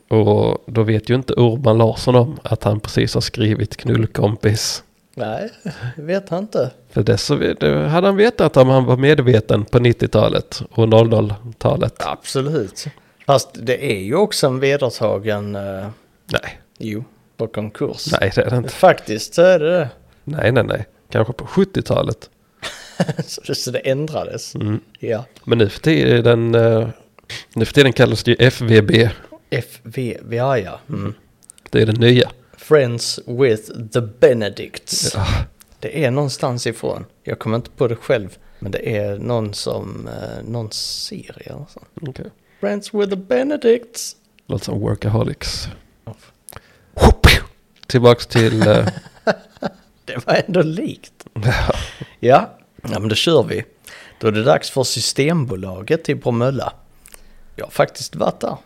[SPEAKER 1] Och då vet ju inte Urban Larsson om att han precis har skrivit knullkompis.
[SPEAKER 2] Nej, det vet han inte.
[SPEAKER 1] För det, så, det hade han vetat om han var medveten på 90-talet och 00-talet.
[SPEAKER 2] Absolut. Fast det är ju också en vedertagen... eh,
[SPEAKER 1] Nej,
[SPEAKER 2] jo, på konkurs.
[SPEAKER 1] nej det är det inte.
[SPEAKER 2] Faktiskt så är det det.
[SPEAKER 1] Nej, nej, nej. Kanske på 70-talet.
[SPEAKER 2] Så- Så det ändrades. Ja.
[SPEAKER 1] Mm. Men nu för tiden, eh, nu för tiden kallas det ju FVB.
[SPEAKER 2] FVV, ja. Mm.
[SPEAKER 1] Det är det nya.
[SPEAKER 2] Friends with the Benedicts.
[SPEAKER 1] Ja.
[SPEAKER 2] Det är någonstans ifrån. Jag kommer inte på det själv. Men det är någon som, eh, någon serie eller så.
[SPEAKER 1] Okay.
[SPEAKER 2] Friends with the Benedicts.
[SPEAKER 1] Låter som workaholics. Tillbaks till... eh,
[SPEAKER 2] Det var ändå likt.
[SPEAKER 1] ja.
[SPEAKER 2] Ja, ja men då kör vi. Då är det dags för Systembolaget i Bromölla. Jag har faktiskt varit där.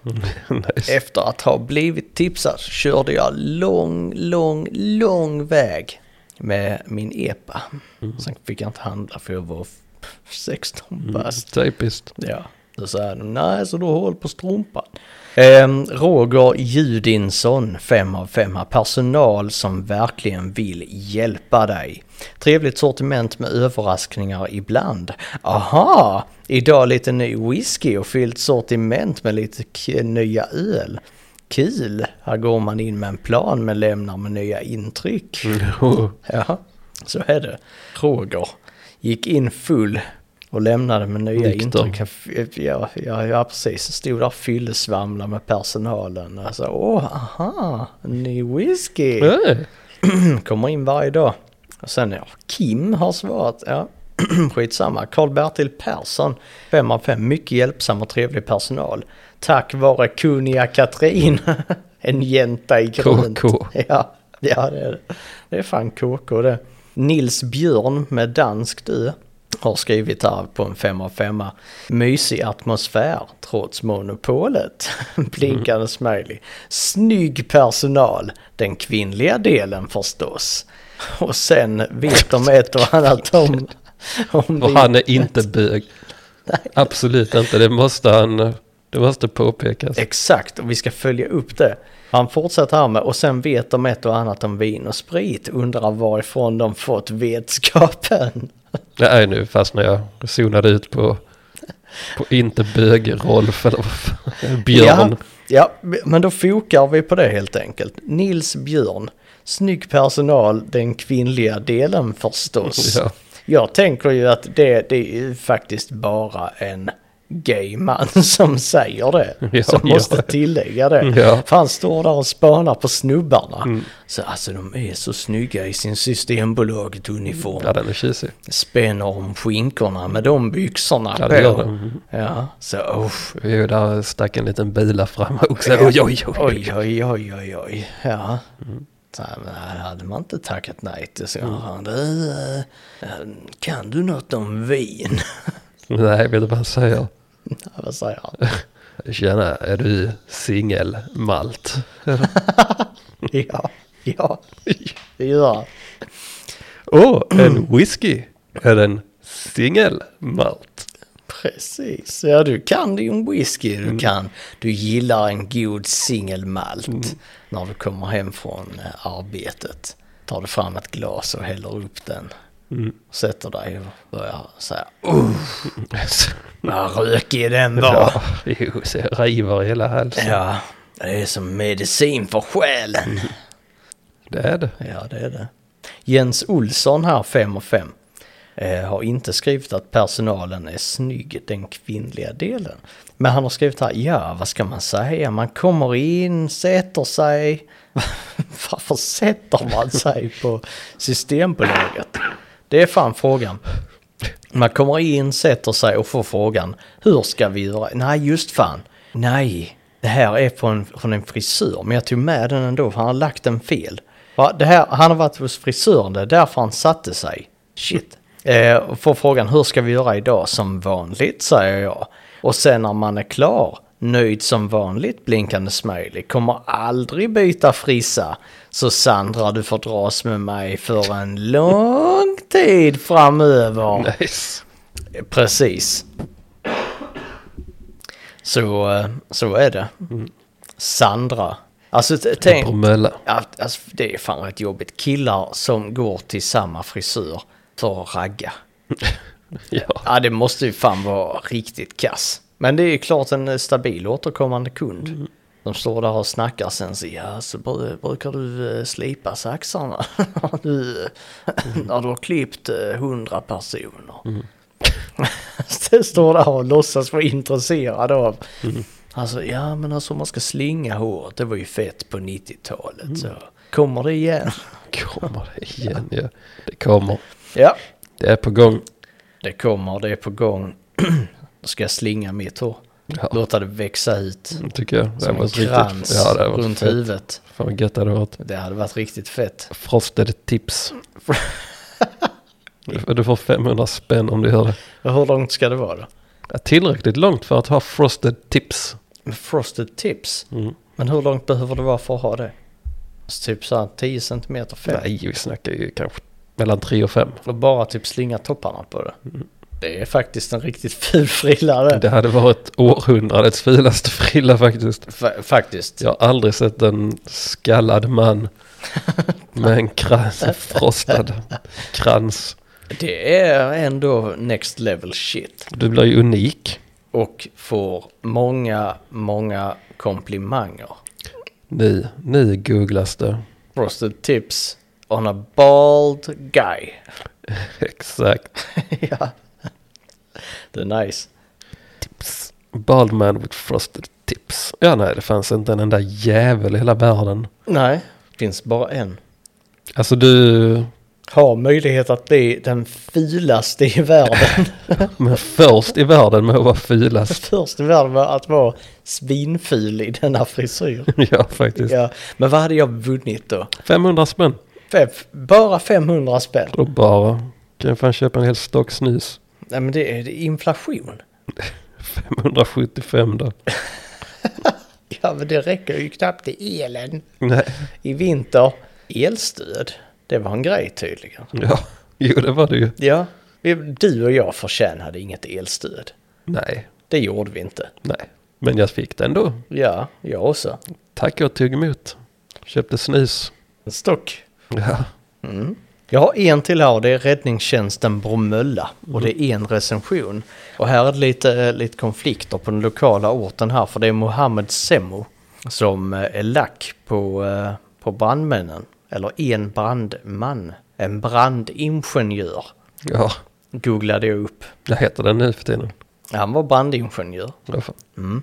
[SPEAKER 1] nice.
[SPEAKER 2] Efter att ha blivit tipsad körde jag lång, lång, lång väg med min EPA.
[SPEAKER 1] Mm.
[SPEAKER 2] Sen fick jag inte handla för jag var f- 16 bast.
[SPEAKER 1] Mm. Typiskt.
[SPEAKER 2] Ja, då sa de nej så då håll på strumpan. Ehm, Roger Judinsson, 5 av 5, har personal som verkligen vill hjälpa dig. Trevligt sortiment med överraskningar ibland. Aha, idag lite ny whisky och fyllt sortiment med lite k- nya öl. Kul, här går man in med en plan men lämnar med nya intryck.
[SPEAKER 1] Jo.
[SPEAKER 2] Ja, så är det. Roger gick in full och lämnade med nya
[SPEAKER 1] Nykter.
[SPEAKER 2] intryck. Han f- Ja, ja, ja, precis. Stod där fyllesvamla med personalen. Alltså, åh, aha, ny whisky. Mm,
[SPEAKER 1] Nej.
[SPEAKER 2] Kommer in varje dag. Och sen, ja, Kim har svarat, ja. Skitsamma. Karl-Bertil Persson, 5 av 5. Mycket hjälpsam och trevlig personal. Tack vare Kunia Katrin. en jänta i grönt.
[SPEAKER 1] KK.
[SPEAKER 2] Ja, ja det, är, det. det är fan KK det. Nils Björn med danskt ö har skrivit här på en 5 av 5 Mysig atmosfär trots monopolet. Blinkande smiley. Snygg personal. Den kvinnliga delen förstås. Och sen vet de ett och annat om... om
[SPEAKER 1] Och
[SPEAKER 2] vi-
[SPEAKER 1] han är inte bög. Absolut inte, det måste han... eh, Det måste påpekas.
[SPEAKER 2] Exakt, och vi ska följa upp det. Han fortsätter här med, och sen vet de ett och annat om vin och sprit. Undrar varifrån de fått vetskapen.
[SPEAKER 1] Nej, nu fastnar jag zonade ut på, på inte bög-Rolf eller vad fan, Björn.
[SPEAKER 2] Ja, ja, men då fokar vi på det helt enkelt. Nils Björn, snygg personal, den kvinnliga delen förstås.
[SPEAKER 1] Ja.
[SPEAKER 2] Jag tänker ju att det, det är ju faktiskt bara en gay man som säger det.
[SPEAKER 1] Ja,
[SPEAKER 2] som
[SPEAKER 1] ja.
[SPEAKER 2] måste tillägga det.
[SPEAKER 1] Ja. Mm.
[SPEAKER 2] För han står där och spanar på snubbarna. Så alltså de är så snygga i sin Systembolaget-uniform
[SPEAKER 1] Ja, den är tjusig.
[SPEAKER 2] spänner om skinkorna med de byxorna
[SPEAKER 1] Ja,
[SPEAKER 2] på.
[SPEAKER 1] det gör de.
[SPEAKER 2] Ja, så usch.
[SPEAKER 1] Jo, där stack en liten bila fram också. Oj, oj, oj. Mm.
[SPEAKER 2] Oj, oj, oj, oj, oj. Ja. Så här, men här hade man inte tackat nej till. Så han, du, eh, kan du något om vin?
[SPEAKER 1] Nej, vet du vad han säger?
[SPEAKER 2] Vad säger han?
[SPEAKER 1] Tjena, är du singel malt? Eller?
[SPEAKER 2] Ja, ja, det gör han.
[SPEAKER 1] Åh, oh, en whisky. Är den singel malt?
[SPEAKER 2] Precis, ja du kan din whisky, du kan. Du gillar en god singelmalt när du kommer hem från eh, arbetet. Tar du fram ett glas och häller upp den. Mm. Sätter dig och börjar säga oh, vad rökig den var.
[SPEAKER 1] Ja, jo, så jag river i hela halsen.
[SPEAKER 2] Ja, det är som medicin för själen.
[SPEAKER 1] Det är det.
[SPEAKER 2] Ja, det är det. Jens Olsson här, 5 och 5, eh, har inte skrivit att personalen är snygg, den kvinnliga delen. Men han har skrivit här, ja, vad ska man säga? Man kommer in, sätter sig. Varför sätter man sig på Systembolaget? Det är fan frågan. Man kommer in, sätter sig och får frågan, hur ska vi göra? Nej, just fan. Nej, det här är från, från en frisör, men jag tog med den ändå för han har lagt den fel. Va, det här, han har varit hos frisören, det är därför han satte sig. Shit. Eh, och får frågan hur ska vi göra idag som vanligt, säger jag. Och sen när man är klar, nöjd som vanligt, blinkande smiley, kommer aldrig byta frissa. Så Sandra, du får dras med mig för en lång tid framöver.
[SPEAKER 1] Nice.
[SPEAKER 2] Precis. Så, eh, så är det. Sandra. Alltså t- tänk,
[SPEAKER 1] Bromölla.
[SPEAKER 2] Ja, alltså, det är fan rätt jobbigt. Killar som går till samma frisör för att ragga.
[SPEAKER 1] Ja.
[SPEAKER 2] Ja, det måste ju fan vara riktigt kass. Men det är ju klart en eh, stabil återkommande kund. De står där och snackar sen så, ja, så bru- brukar du eh, slipa saxarna när du, när du har klippt eh, hundra personer. Så står där och låtsas vara intresserad av. Alltså, ja men alltså om man ska slinga håret, det var ju fett på 90-talet så. Kommer det igen?
[SPEAKER 1] Kommer det igen ja. Det kommer.
[SPEAKER 2] Ja.
[SPEAKER 1] Det är på gång.
[SPEAKER 2] Det kommer, det är på gång. Då ska jag slinga mitt hår.
[SPEAKER 1] Ja,
[SPEAKER 2] Låta det växa ut.
[SPEAKER 1] det tycker jag. Det
[SPEAKER 2] Som
[SPEAKER 1] var
[SPEAKER 2] en
[SPEAKER 1] riktigt.
[SPEAKER 2] krans
[SPEAKER 1] Ja, det var
[SPEAKER 2] runt
[SPEAKER 1] fett.
[SPEAKER 2] huvudet.
[SPEAKER 1] Fan vad gött det hade varit.
[SPEAKER 2] Det hade varit riktigt fett.
[SPEAKER 1] Frosted tips. Du du får 500 spänn om du gör det.
[SPEAKER 2] Och Hur långt ska det vara då?
[SPEAKER 1] Ja, Tillräckligt långt för att ha frosted tips.
[SPEAKER 2] Med Frosted tips.
[SPEAKER 1] Mm.
[SPEAKER 2] Men hur långt behöver det vara för att ha det? Så typ så här 10 cm fett.
[SPEAKER 1] Nej, vi snackar ju kanske mellan 3 och 5.
[SPEAKER 2] Och bara typ slinga topparna på det. Det är faktiskt en riktigt ful frilla det.
[SPEAKER 1] Det hade varit århundradets fulaste frilla faktiskt.
[SPEAKER 2] Fa- faktiskt.
[SPEAKER 1] Jag har aldrig sett en skallad man med en krans, en frostad krans.
[SPEAKER 2] Det är ändå next level shit.
[SPEAKER 1] Du blir ju unik.
[SPEAKER 2] Och får många, många komplimanger.
[SPEAKER 1] Nu, nu googlas det.
[SPEAKER 2] Frosted tips on a bald guy.
[SPEAKER 1] Exakt.
[SPEAKER 2] ja. Det är nice.
[SPEAKER 1] Tips. Bald man with frosted tips. Ja, nej, det fanns inte en enda jävel i hela världen.
[SPEAKER 2] Nej, finns bara en.
[SPEAKER 1] Alltså du,
[SPEAKER 2] Har möjlighet att bli den filaste i världen.
[SPEAKER 1] men först i världen med att vara fulast.
[SPEAKER 2] Först i världen med att vara svinfil i denna frisyr.
[SPEAKER 1] Ja, faktiskt.
[SPEAKER 2] Ja, men vad hade jag vunnit då?
[SPEAKER 1] 500 spänn.
[SPEAKER 2] Fem, bara 500 spänn?
[SPEAKER 1] Och bara. Kan jag fan köpa en hel stock snus.
[SPEAKER 2] Nej men det är det är inflation.
[SPEAKER 1] 575 då.
[SPEAKER 2] Ja men det räcker ju knappt till elen.
[SPEAKER 1] Nej.
[SPEAKER 2] I vinter, elstöd. Det var en grej tydligen.
[SPEAKER 1] Ja. Jo, det var det ju.
[SPEAKER 2] Ja, vi- du och jag förtjänade inget elstöd.
[SPEAKER 1] Nej.
[SPEAKER 2] Det gjorde vi inte.
[SPEAKER 1] Nej. Men jag fick det ändå.
[SPEAKER 2] Ja, jag också.
[SPEAKER 1] Tack jag tog emot. Köpte snus.
[SPEAKER 2] En stock.
[SPEAKER 1] Ja.
[SPEAKER 2] Jag har en till här och det är räddningstjänsten Bromölla. Och det är en recension. Och här är det lite, eh, lite konflikter på den lokala orten här. För det är Mohammed Semmo som eh, är lack på, eh, på brandmännen. Eller en brandman. En brandingenjör.
[SPEAKER 1] Ja.
[SPEAKER 2] Googlade jag upp.
[SPEAKER 1] Det heter den nu för tiden.
[SPEAKER 2] Han var brandingenjör.
[SPEAKER 1] Ja, fan.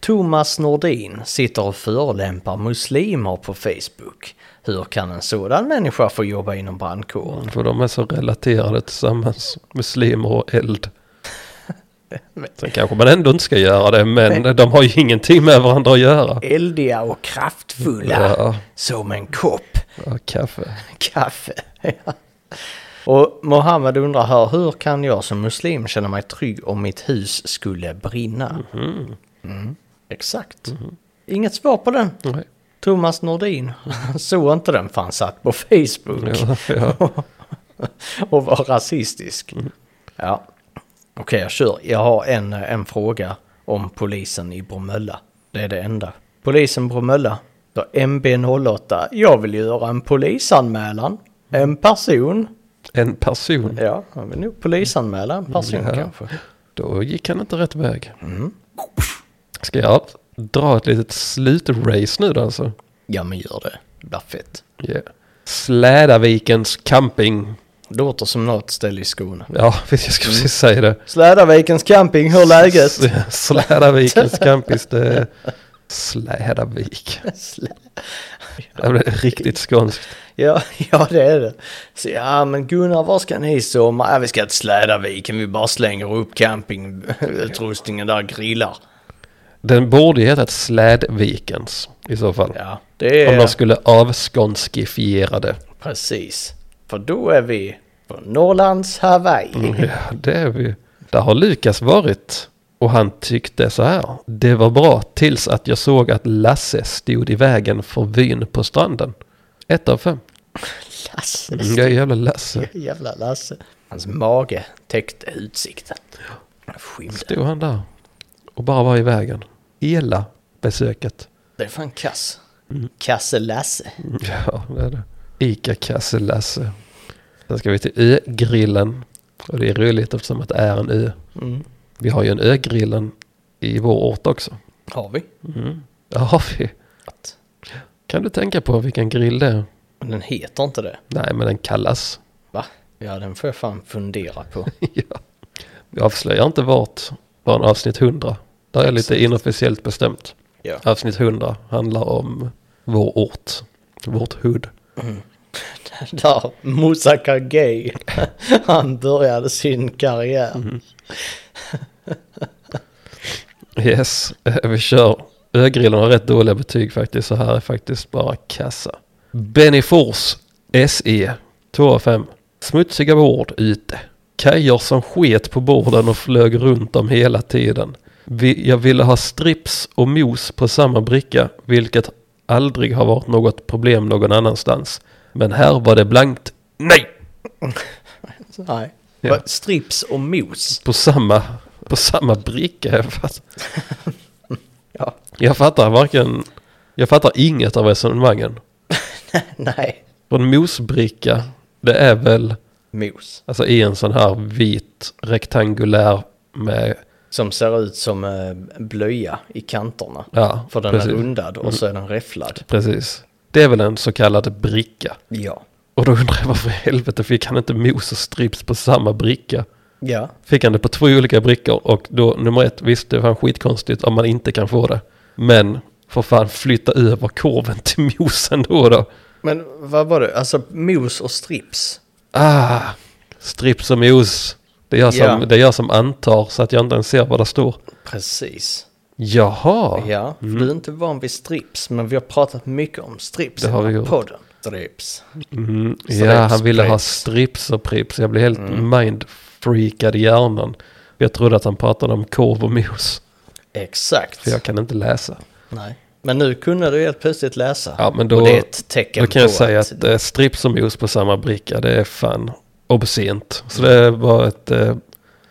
[SPEAKER 2] Thomas Nordin sitter och förolämpar muslimer på Facebook. Hur kan en sådan människa få jobba inom brandkåren?
[SPEAKER 1] För de är så relaterade tillsammans. Muslimer och eld. Sen kanske man ändå inte ska göra det. Men de har ju ingenting med varandra att göra.
[SPEAKER 2] Eldiga och kraftfulla.
[SPEAKER 1] Ja.
[SPEAKER 2] Som en kopp
[SPEAKER 1] Ja, kaffe.
[SPEAKER 2] kaffe. Ja. och Mohammed undrar här, hur kan jag som muslim känna mig trygg om mitt hus skulle brinna?
[SPEAKER 1] Mm-hmm.
[SPEAKER 2] Mm, Exakt. Mm-hmm. Inget svar på den.
[SPEAKER 1] Nej.
[SPEAKER 2] Thomas Nordin såg inte den för han satt på Facebook.
[SPEAKER 1] Ja, ja.
[SPEAKER 2] och var rasistisk. Ja. Okej, jag kör. Jag har en, en fråga om polisen i Bromölla. Det är det enda. Polisen Bromölla. Då MB08. Jag vill göra en polisanmälan. En person.
[SPEAKER 1] En person.
[SPEAKER 2] Ja, Mm, jag vill nog polisanmäla en person
[SPEAKER 1] Ja.
[SPEAKER 2] kanske.
[SPEAKER 1] Då gick han inte rätt väg. Ska jag dra ett litet slutrace nu då alltså?
[SPEAKER 2] Ja, men gör det. Det blir fett.
[SPEAKER 1] Yeah. Slädavikens camping.
[SPEAKER 2] Låter som något ställe i Skåne.
[SPEAKER 1] Ja, jag skulle precis säga det.
[SPEAKER 2] Slädavikens camping, Mm. hur är läget?
[SPEAKER 1] S- Slädavikens camping. Det är Slädavik.
[SPEAKER 2] Slä-
[SPEAKER 1] Det blev riktigt skånskt.
[SPEAKER 2] Ja, ja det är det. Så ja, men Gunnar, var ska ni i sommar? Ja, vi ska till Slädaviken, vi bara slänger upp campingutrustningen där, grillar.
[SPEAKER 1] Den borde ju hetat Slädvikens. i så fall.
[SPEAKER 2] Ja, det
[SPEAKER 1] Om
[SPEAKER 2] är
[SPEAKER 1] de skulle avskånskifiera det.
[SPEAKER 2] precis. För då är vi på Norrlands Hawaii.
[SPEAKER 1] Mm, Ja, det är vi. Där har Lukas varit. Och han tyckte så här. Det var bra tills att jag såg att Lasse stod i vägen för vyn på stranden. Ett av fem.
[SPEAKER 2] Lasse.
[SPEAKER 1] Mm, Jag är jävla Lasse.
[SPEAKER 2] Jävla Lasse. Hans mage täckte utsikten. Skymde.
[SPEAKER 1] Stod han där. Och bara var i vägen. Hela besöket.
[SPEAKER 2] Det är fan kass. Kasse Lasse.
[SPEAKER 1] Mm, Ja, det är det. Ica-kasse Lasse. Sen ska vi till Ö-grillen. Och det är roligt eftersom att det är en ö.
[SPEAKER 2] Mm.
[SPEAKER 1] Vi har ju en Ö-grillen i vår ort också.
[SPEAKER 2] Har vi?
[SPEAKER 1] Mm. Ja, har vi. Kan du tänka på vilken grill det är?
[SPEAKER 2] Men den heter inte det.
[SPEAKER 1] Nej, men den kallas.
[SPEAKER 2] Va? Ja, den får jag fan fundera på.
[SPEAKER 1] ja. Vi avslöjar inte vart förrän avsnitt 100. Där är lite
[SPEAKER 2] Exakt.
[SPEAKER 1] inofficiellt bestämt.
[SPEAKER 2] Ja.
[SPEAKER 1] Avsnitt 100 handlar om vår ort. Vårt hood.
[SPEAKER 2] Där Musa Kagey, han började sin karriär.
[SPEAKER 1] Yes, eh, vi kör. Ögrillen har rätt dåliga betyg faktiskt, så här är faktiskt bara kassa. Benny Fors, SE, 2 av 5. Smutsiga bord ute. Kajer som sket på borden och flög runt dem hela tiden. Vi, jag ville ha strips och mos på samma bricka, vilket aldrig har varit något problem någon annanstans. Men här var det blankt nej
[SPEAKER 2] Nej.
[SPEAKER 1] Ja.
[SPEAKER 2] Va, Strips och mos.
[SPEAKER 1] på samma, på samma bricka. Jag fattar,
[SPEAKER 2] Ja.
[SPEAKER 1] jag fattar varken, jag fattar inget av resonemangen.
[SPEAKER 2] Nej.
[SPEAKER 1] Och en mosbricka, det är väl
[SPEAKER 2] Mos.
[SPEAKER 1] alltså i en sån här vit rektangulär med,
[SPEAKER 2] Som ser ut som eh, blöja i kanterna.
[SPEAKER 1] ja,
[SPEAKER 2] För den är
[SPEAKER 1] precis,
[SPEAKER 2] rundad och så är den räfflad.
[SPEAKER 1] precis. Det är väl en så kallad bricka.
[SPEAKER 2] Ja.
[SPEAKER 1] Och då undrar jag varför i helvete fick han inte mos och strips på samma bricka?
[SPEAKER 2] Ja.
[SPEAKER 1] Fick han det på två olika brickor och då nummer ett, visst det var skitkonstigt om man inte kan få det. Men för fan flytta över korven till mosen då då.
[SPEAKER 2] Men vad var det? Alltså mos och strips.
[SPEAKER 1] Ah, strips och mos. Det är jag som,
[SPEAKER 2] Ja.
[SPEAKER 1] det är jag som antar så att jag inte ens ser vad det står.
[SPEAKER 2] Precis.
[SPEAKER 1] Jaha.
[SPEAKER 2] Ja, Mm. för du är inte van vid strips, men vi har pratat mycket om strips
[SPEAKER 1] Det har
[SPEAKER 2] i
[SPEAKER 1] vi
[SPEAKER 2] den här
[SPEAKER 1] gjort.
[SPEAKER 2] podden. Strips.
[SPEAKER 1] Mm,
[SPEAKER 2] Strips, Mm.
[SPEAKER 1] ja, han ville ha
[SPEAKER 2] prips.
[SPEAKER 1] strips och prips. Jag blev helt mindfreakad i hjärnan. Jag trodde att han pratade om korv och mos.
[SPEAKER 2] Exakt.
[SPEAKER 1] För jag kan inte läsa.
[SPEAKER 2] Nej. Men nu kunde du helt plötsligt läsa.
[SPEAKER 1] Ja, men då-
[SPEAKER 2] och det är ett tecken
[SPEAKER 1] Då kan jag
[SPEAKER 2] på
[SPEAKER 1] säga
[SPEAKER 2] att...
[SPEAKER 1] att eh, strips och mos på samma bricka, det är fan obscent. Så det var ett, eh,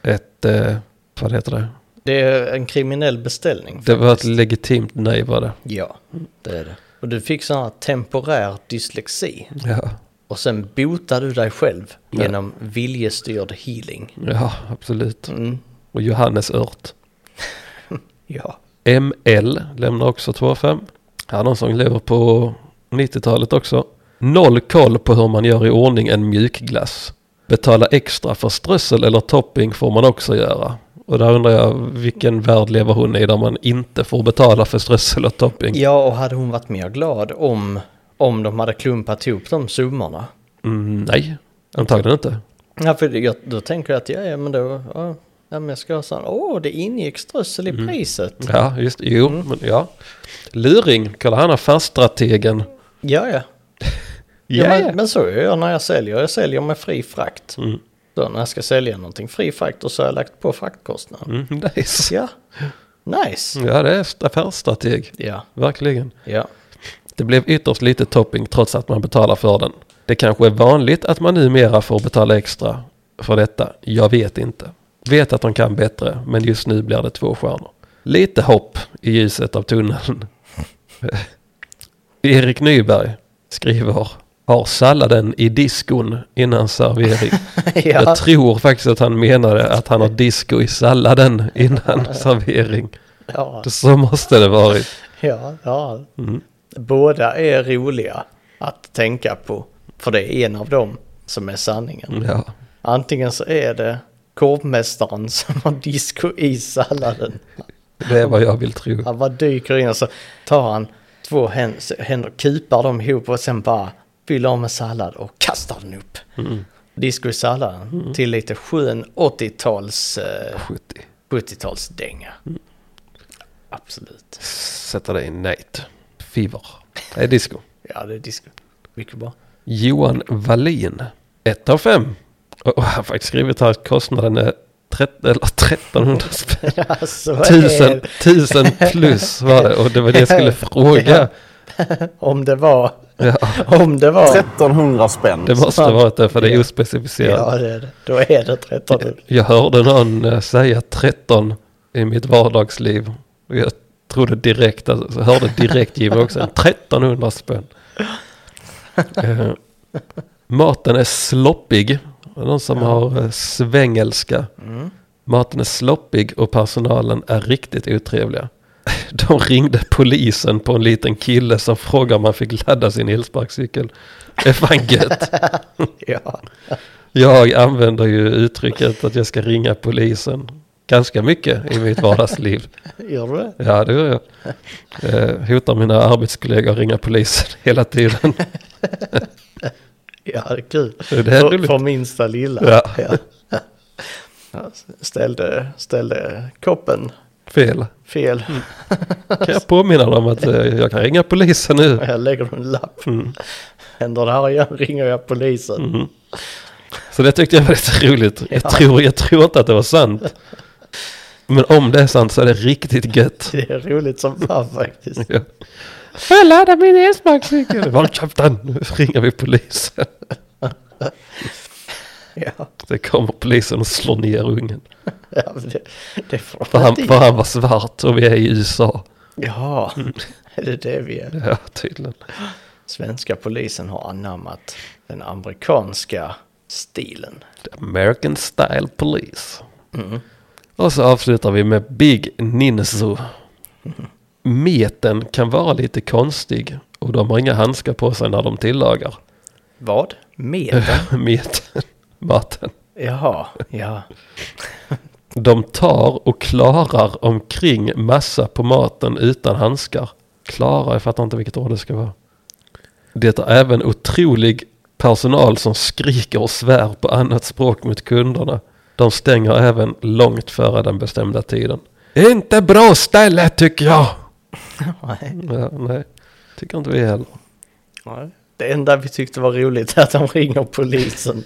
[SPEAKER 1] ett eh, vad heter det?
[SPEAKER 2] Det är en kriminell beställning.
[SPEAKER 1] Det var ett
[SPEAKER 2] faktiskt.
[SPEAKER 1] legitimt nej var det.
[SPEAKER 2] Ja, det är det. Och du fick sån här temporär dyslexi.
[SPEAKER 1] Ja,
[SPEAKER 2] Och sen botar du dig själv
[SPEAKER 1] Ja.
[SPEAKER 2] genom viljestyrd healing.
[SPEAKER 1] ja absolut.
[SPEAKER 2] Mm.
[SPEAKER 1] Och Johannes Ört.
[SPEAKER 2] Ja.
[SPEAKER 1] ML lämnar också 2,5. Här är någon som lever på 90-talet också. Noll koll på hur man gör i ordning en mjukglass. Betala extra för strössel eller topping får man också göra. Och där undrar jag vilken värld lever hon i där man inte får betala för strössel och topping.
[SPEAKER 2] ja, och hade hon varit mer glad om, om de hade klumpat ihop de summorna?
[SPEAKER 1] Mm, nej, antagligen inte.
[SPEAKER 2] Ja, för jag, då tänker jag att ja, ja men då... Ja, ja, men jag ska ha sån... Åh, det ingick strössel i priset.
[SPEAKER 1] Ja, just Jo,
[SPEAKER 2] Mm.
[SPEAKER 1] men ja. Luring, kolla han affärsstrategen. Mm.
[SPEAKER 2] Ja, ja. Ja,
[SPEAKER 1] Ja, Mm. ja.
[SPEAKER 2] Men, men så gör jag när jag säljer. Jag säljer med fri frakt. Då när jag ska sälja någonting, fri frakt, och så har jag lagt på fraktkostnaden.
[SPEAKER 1] Mm, nice. Mm.
[SPEAKER 2] Ja, nice.
[SPEAKER 1] Ja, det är affärsstrateg.
[SPEAKER 2] Ja,
[SPEAKER 1] Verkligen.
[SPEAKER 2] ja.
[SPEAKER 1] Det blev ytterst lite topping trots att man betalar för den. Det kanske är vanligt att man numera får betala extra för detta. Jag vet inte. Vet att de kan bättre, men just nu blir det två stjärnor. Lite hopp i ljuset av tunneln. Erik Nyberg skriver har salladen i diskon innan servering.
[SPEAKER 2] ja.
[SPEAKER 1] Jag tror faktiskt att han menade att han har disco i salladen innan servering.
[SPEAKER 2] ja,
[SPEAKER 1] Så måste det varit.
[SPEAKER 2] ja, ja.
[SPEAKER 1] Mm.
[SPEAKER 2] Båda är roliga att tänka på. För det är en av dem som är sanningen.
[SPEAKER 1] Ja.
[SPEAKER 2] Antingen så är det korvmästaren som har disco i salladen.
[SPEAKER 1] Det är vad jag vill tro.
[SPEAKER 2] Han bara dyker in och så tar han två hän- händer, kupar dem ihop och sen bara fyller om med sallad och kastar den upp. Disco i salladen till lite skön 80-tals, eh,
[SPEAKER 1] 70.
[SPEAKER 2] Mm. 70-talsdänga. Absolut.
[SPEAKER 1] Sätta dig i nät. Fever. Det är disco.
[SPEAKER 2] Ja, det är disco. Mycket bra.
[SPEAKER 1] Johan Wallin. 1 av 5. Och och jag har faktiskt skrivit här att kostnaden är 13, eller 1300 spänn.
[SPEAKER 2] Alltså, vad är
[SPEAKER 1] 1000, 1000 plus var det. Och det var det jag skulle fråga.
[SPEAKER 2] det? Om det var...
[SPEAKER 1] Ja,
[SPEAKER 2] Om det var...
[SPEAKER 4] 1300 spänn.
[SPEAKER 1] det måste ha varit det för det är ospecificerat.
[SPEAKER 2] Ja, det är det. Då är det 13.
[SPEAKER 1] Jag hörde någon eh, säga 13 i mitt vardagsliv. Och jag trodde direkt, alltså, jag hörde direkt Jimmy också, 1300 spänn. Eh, maten är sloppig. Det är någon som har eh, svängelska.
[SPEAKER 2] Mm.
[SPEAKER 1] Maten är sloppig och personalen är riktigt otrevliga. De ringde polisen på en liten kille som frågade om han fick ladda sin elsparkcykel. Det är fan gött.
[SPEAKER 2] Ja.
[SPEAKER 1] Jag använder ju uttrycket att jag ska ringa polisen ganska mycket i mitt vardagsliv.
[SPEAKER 2] Gör du det?
[SPEAKER 1] Ja, det gör jag. Eh, hotar mina arbetskollegor att ringa polisen hela tiden.
[SPEAKER 2] Ja, det är kul.
[SPEAKER 1] Det är
[SPEAKER 2] för,
[SPEAKER 1] roligt.
[SPEAKER 2] för minsta lilla.
[SPEAKER 1] Ja.
[SPEAKER 2] Ja, Ställde, ställde koppen
[SPEAKER 1] Fel.
[SPEAKER 2] fel.
[SPEAKER 1] Kan jag påminna dem att eh, jag kan ringa polisen nu?
[SPEAKER 2] Jag lägger en lapp.
[SPEAKER 1] Mm.
[SPEAKER 2] Händer det här igen ringer jag polisen.
[SPEAKER 1] Mhm. Så det tyckte jag var lite roligt. Jag,
[SPEAKER 2] Ja.
[SPEAKER 1] tror, jag tror inte att det var sant. Men om det är sant så är det riktigt gött.
[SPEAKER 2] Det är roligt som fan faktiskt.
[SPEAKER 1] Ja. Får jag ladda min elsparkcykel? Var har du köpt den? Nu ringer vi polisen.
[SPEAKER 2] Ja,
[SPEAKER 1] Det kommer polisen och slår ner ungen.
[SPEAKER 2] ja men det, det får
[SPEAKER 1] För han,
[SPEAKER 2] inte-
[SPEAKER 1] för han var svart och vi är i USA.
[SPEAKER 2] Ja, är det det vi är?
[SPEAKER 1] Ja, tydligen.
[SPEAKER 2] Svenska polisen har anammat den amerikanska stilen.
[SPEAKER 1] The American Style Police. Och så avslutar vi med Big Ninsu. Meten kan vara lite konstig och de har inga handskar på sig när de tillagar.
[SPEAKER 2] Vad? Meten?
[SPEAKER 1] Meten, maten.
[SPEAKER 2] Jaha, ja.
[SPEAKER 1] De tar och klarar omkring massa på maten utan handskar. Klara, jag fattar inte vilket ord det ska vara. Det är även otrolig personal som skriker och svär på annat språk mot kunderna. De stänger även långt före den bestämda tiden. Inte bra ställe tycker jag!
[SPEAKER 2] Nej.
[SPEAKER 1] Ja, nej, tycker inte vi heller.
[SPEAKER 2] Nej. Det enda vi tyckte var roligt är att de ringer polisen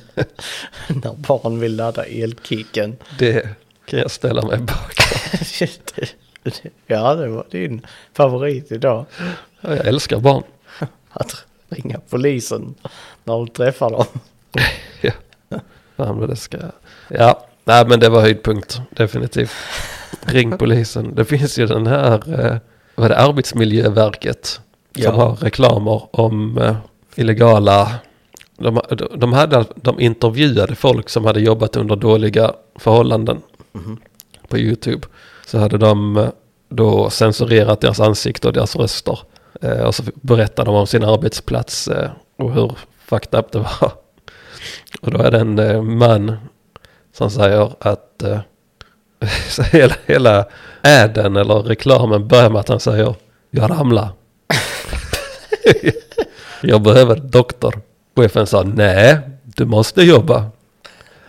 [SPEAKER 2] när barn vill ladda elkicken.
[SPEAKER 1] Det kan jag ställa mig bakom.
[SPEAKER 2] ja, det var din favorit idag.
[SPEAKER 1] Ja, Jag älskar barn.
[SPEAKER 2] Att ringa polisen när du träffar dem.
[SPEAKER 1] Ja. Fan vad det ska... Ja, nej men det var höjdpunkt, definitivt. Ring polisen. Det finns ju den här, eh, vad är det, Arbetsmiljöverket.
[SPEAKER 2] Ja.
[SPEAKER 1] Som har reklamer om eh, illegala... De, de- de, hade, de intervjuade folk som hade jobbat under dåliga förhållanden på YouTube. Så hade de eh, då censurerat deras ansikte och deras röster. Eh, och så berättade de om sin arbetsplats eh, och hur fucked up det var. Och då är det en eh, man som säger att eh, så hela, hela äden eller reklamen börjar med att han säger jag ramlar. jag behöver doktor. Chefen sa nej, du måste jobba.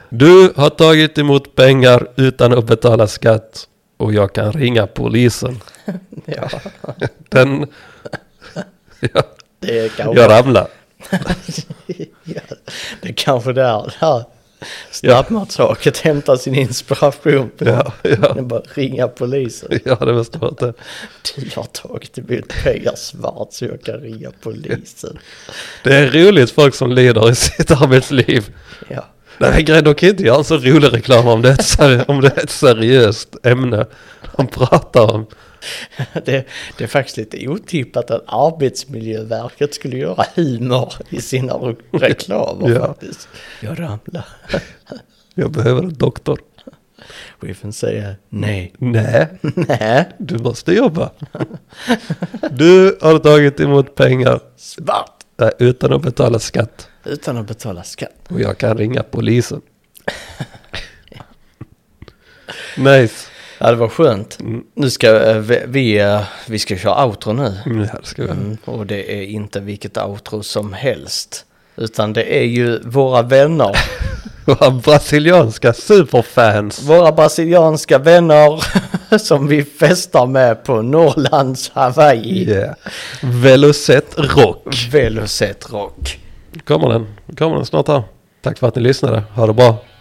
[SPEAKER 1] Du har tagit emot pengar utan att betala skatt och jag kan ringa polisen.
[SPEAKER 2] Ja,
[SPEAKER 1] Den... ja,
[SPEAKER 2] det är kanske,
[SPEAKER 1] jag ramlar.
[SPEAKER 2] ja, det är kanske där, där snabbmatsaket hämtar sin inspiration. På.
[SPEAKER 1] Ja, ja,
[SPEAKER 2] Det är bara att ringa polisen.
[SPEAKER 1] ja, det måste vara det.
[SPEAKER 2] Du har tagit emot pengar svart så jag kan ringa polisen.
[SPEAKER 1] Det är roligt folk som lider i sitt arbetsliv.
[SPEAKER 2] Ja,
[SPEAKER 1] Nej men grejen, de kan inte göra en så rolig reklam om det, är ett seri- om det är ett seriöst ämne de pratar om.
[SPEAKER 2] det, det är faktiskt lite otippat att Arbetsmiljöverket skulle göra humor i sina re- reklamer
[SPEAKER 1] Ja.
[SPEAKER 2] faktiskt. Jag ramlar.
[SPEAKER 1] Jag behöver en doktor.
[SPEAKER 2] Chefen säger nej.
[SPEAKER 1] Nej,
[SPEAKER 2] Nej,
[SPEAKER 1] du måste jobba. Du har tagit emot pengar
[SPEAKER 2] svart.
[SPEAKER 1] eh, utan att betala skatt
[SPEAKER 2] Utan att betala skatt.
[SPEAKER 1] och jag kan ringa polisen. Nice.
[SPEAKER 2] Ja, det var skönt. Nu ska eh, vi, vi, eh, vi ska köra outro nu.
[SPEAKER 1] Mm, här ska vi.
[SPEAKER 2] Mm, och det är inte vilket outro som helst. Utan det är ju våra vänner.
[SPEAKER 1] Våra brasilianska superfans.
[SPEAKER 2] Våra brasilianska vänner. som vi festar med på Norrlands Hawaii.
[SPEAKER 1] Yeah. Velocet Rock.
[SPEAKER 2] Velocet Rock.
[SPEAKER 1] Kommer den. Kommer den snart här. Tack för att ni lyssnade. Ha det bra.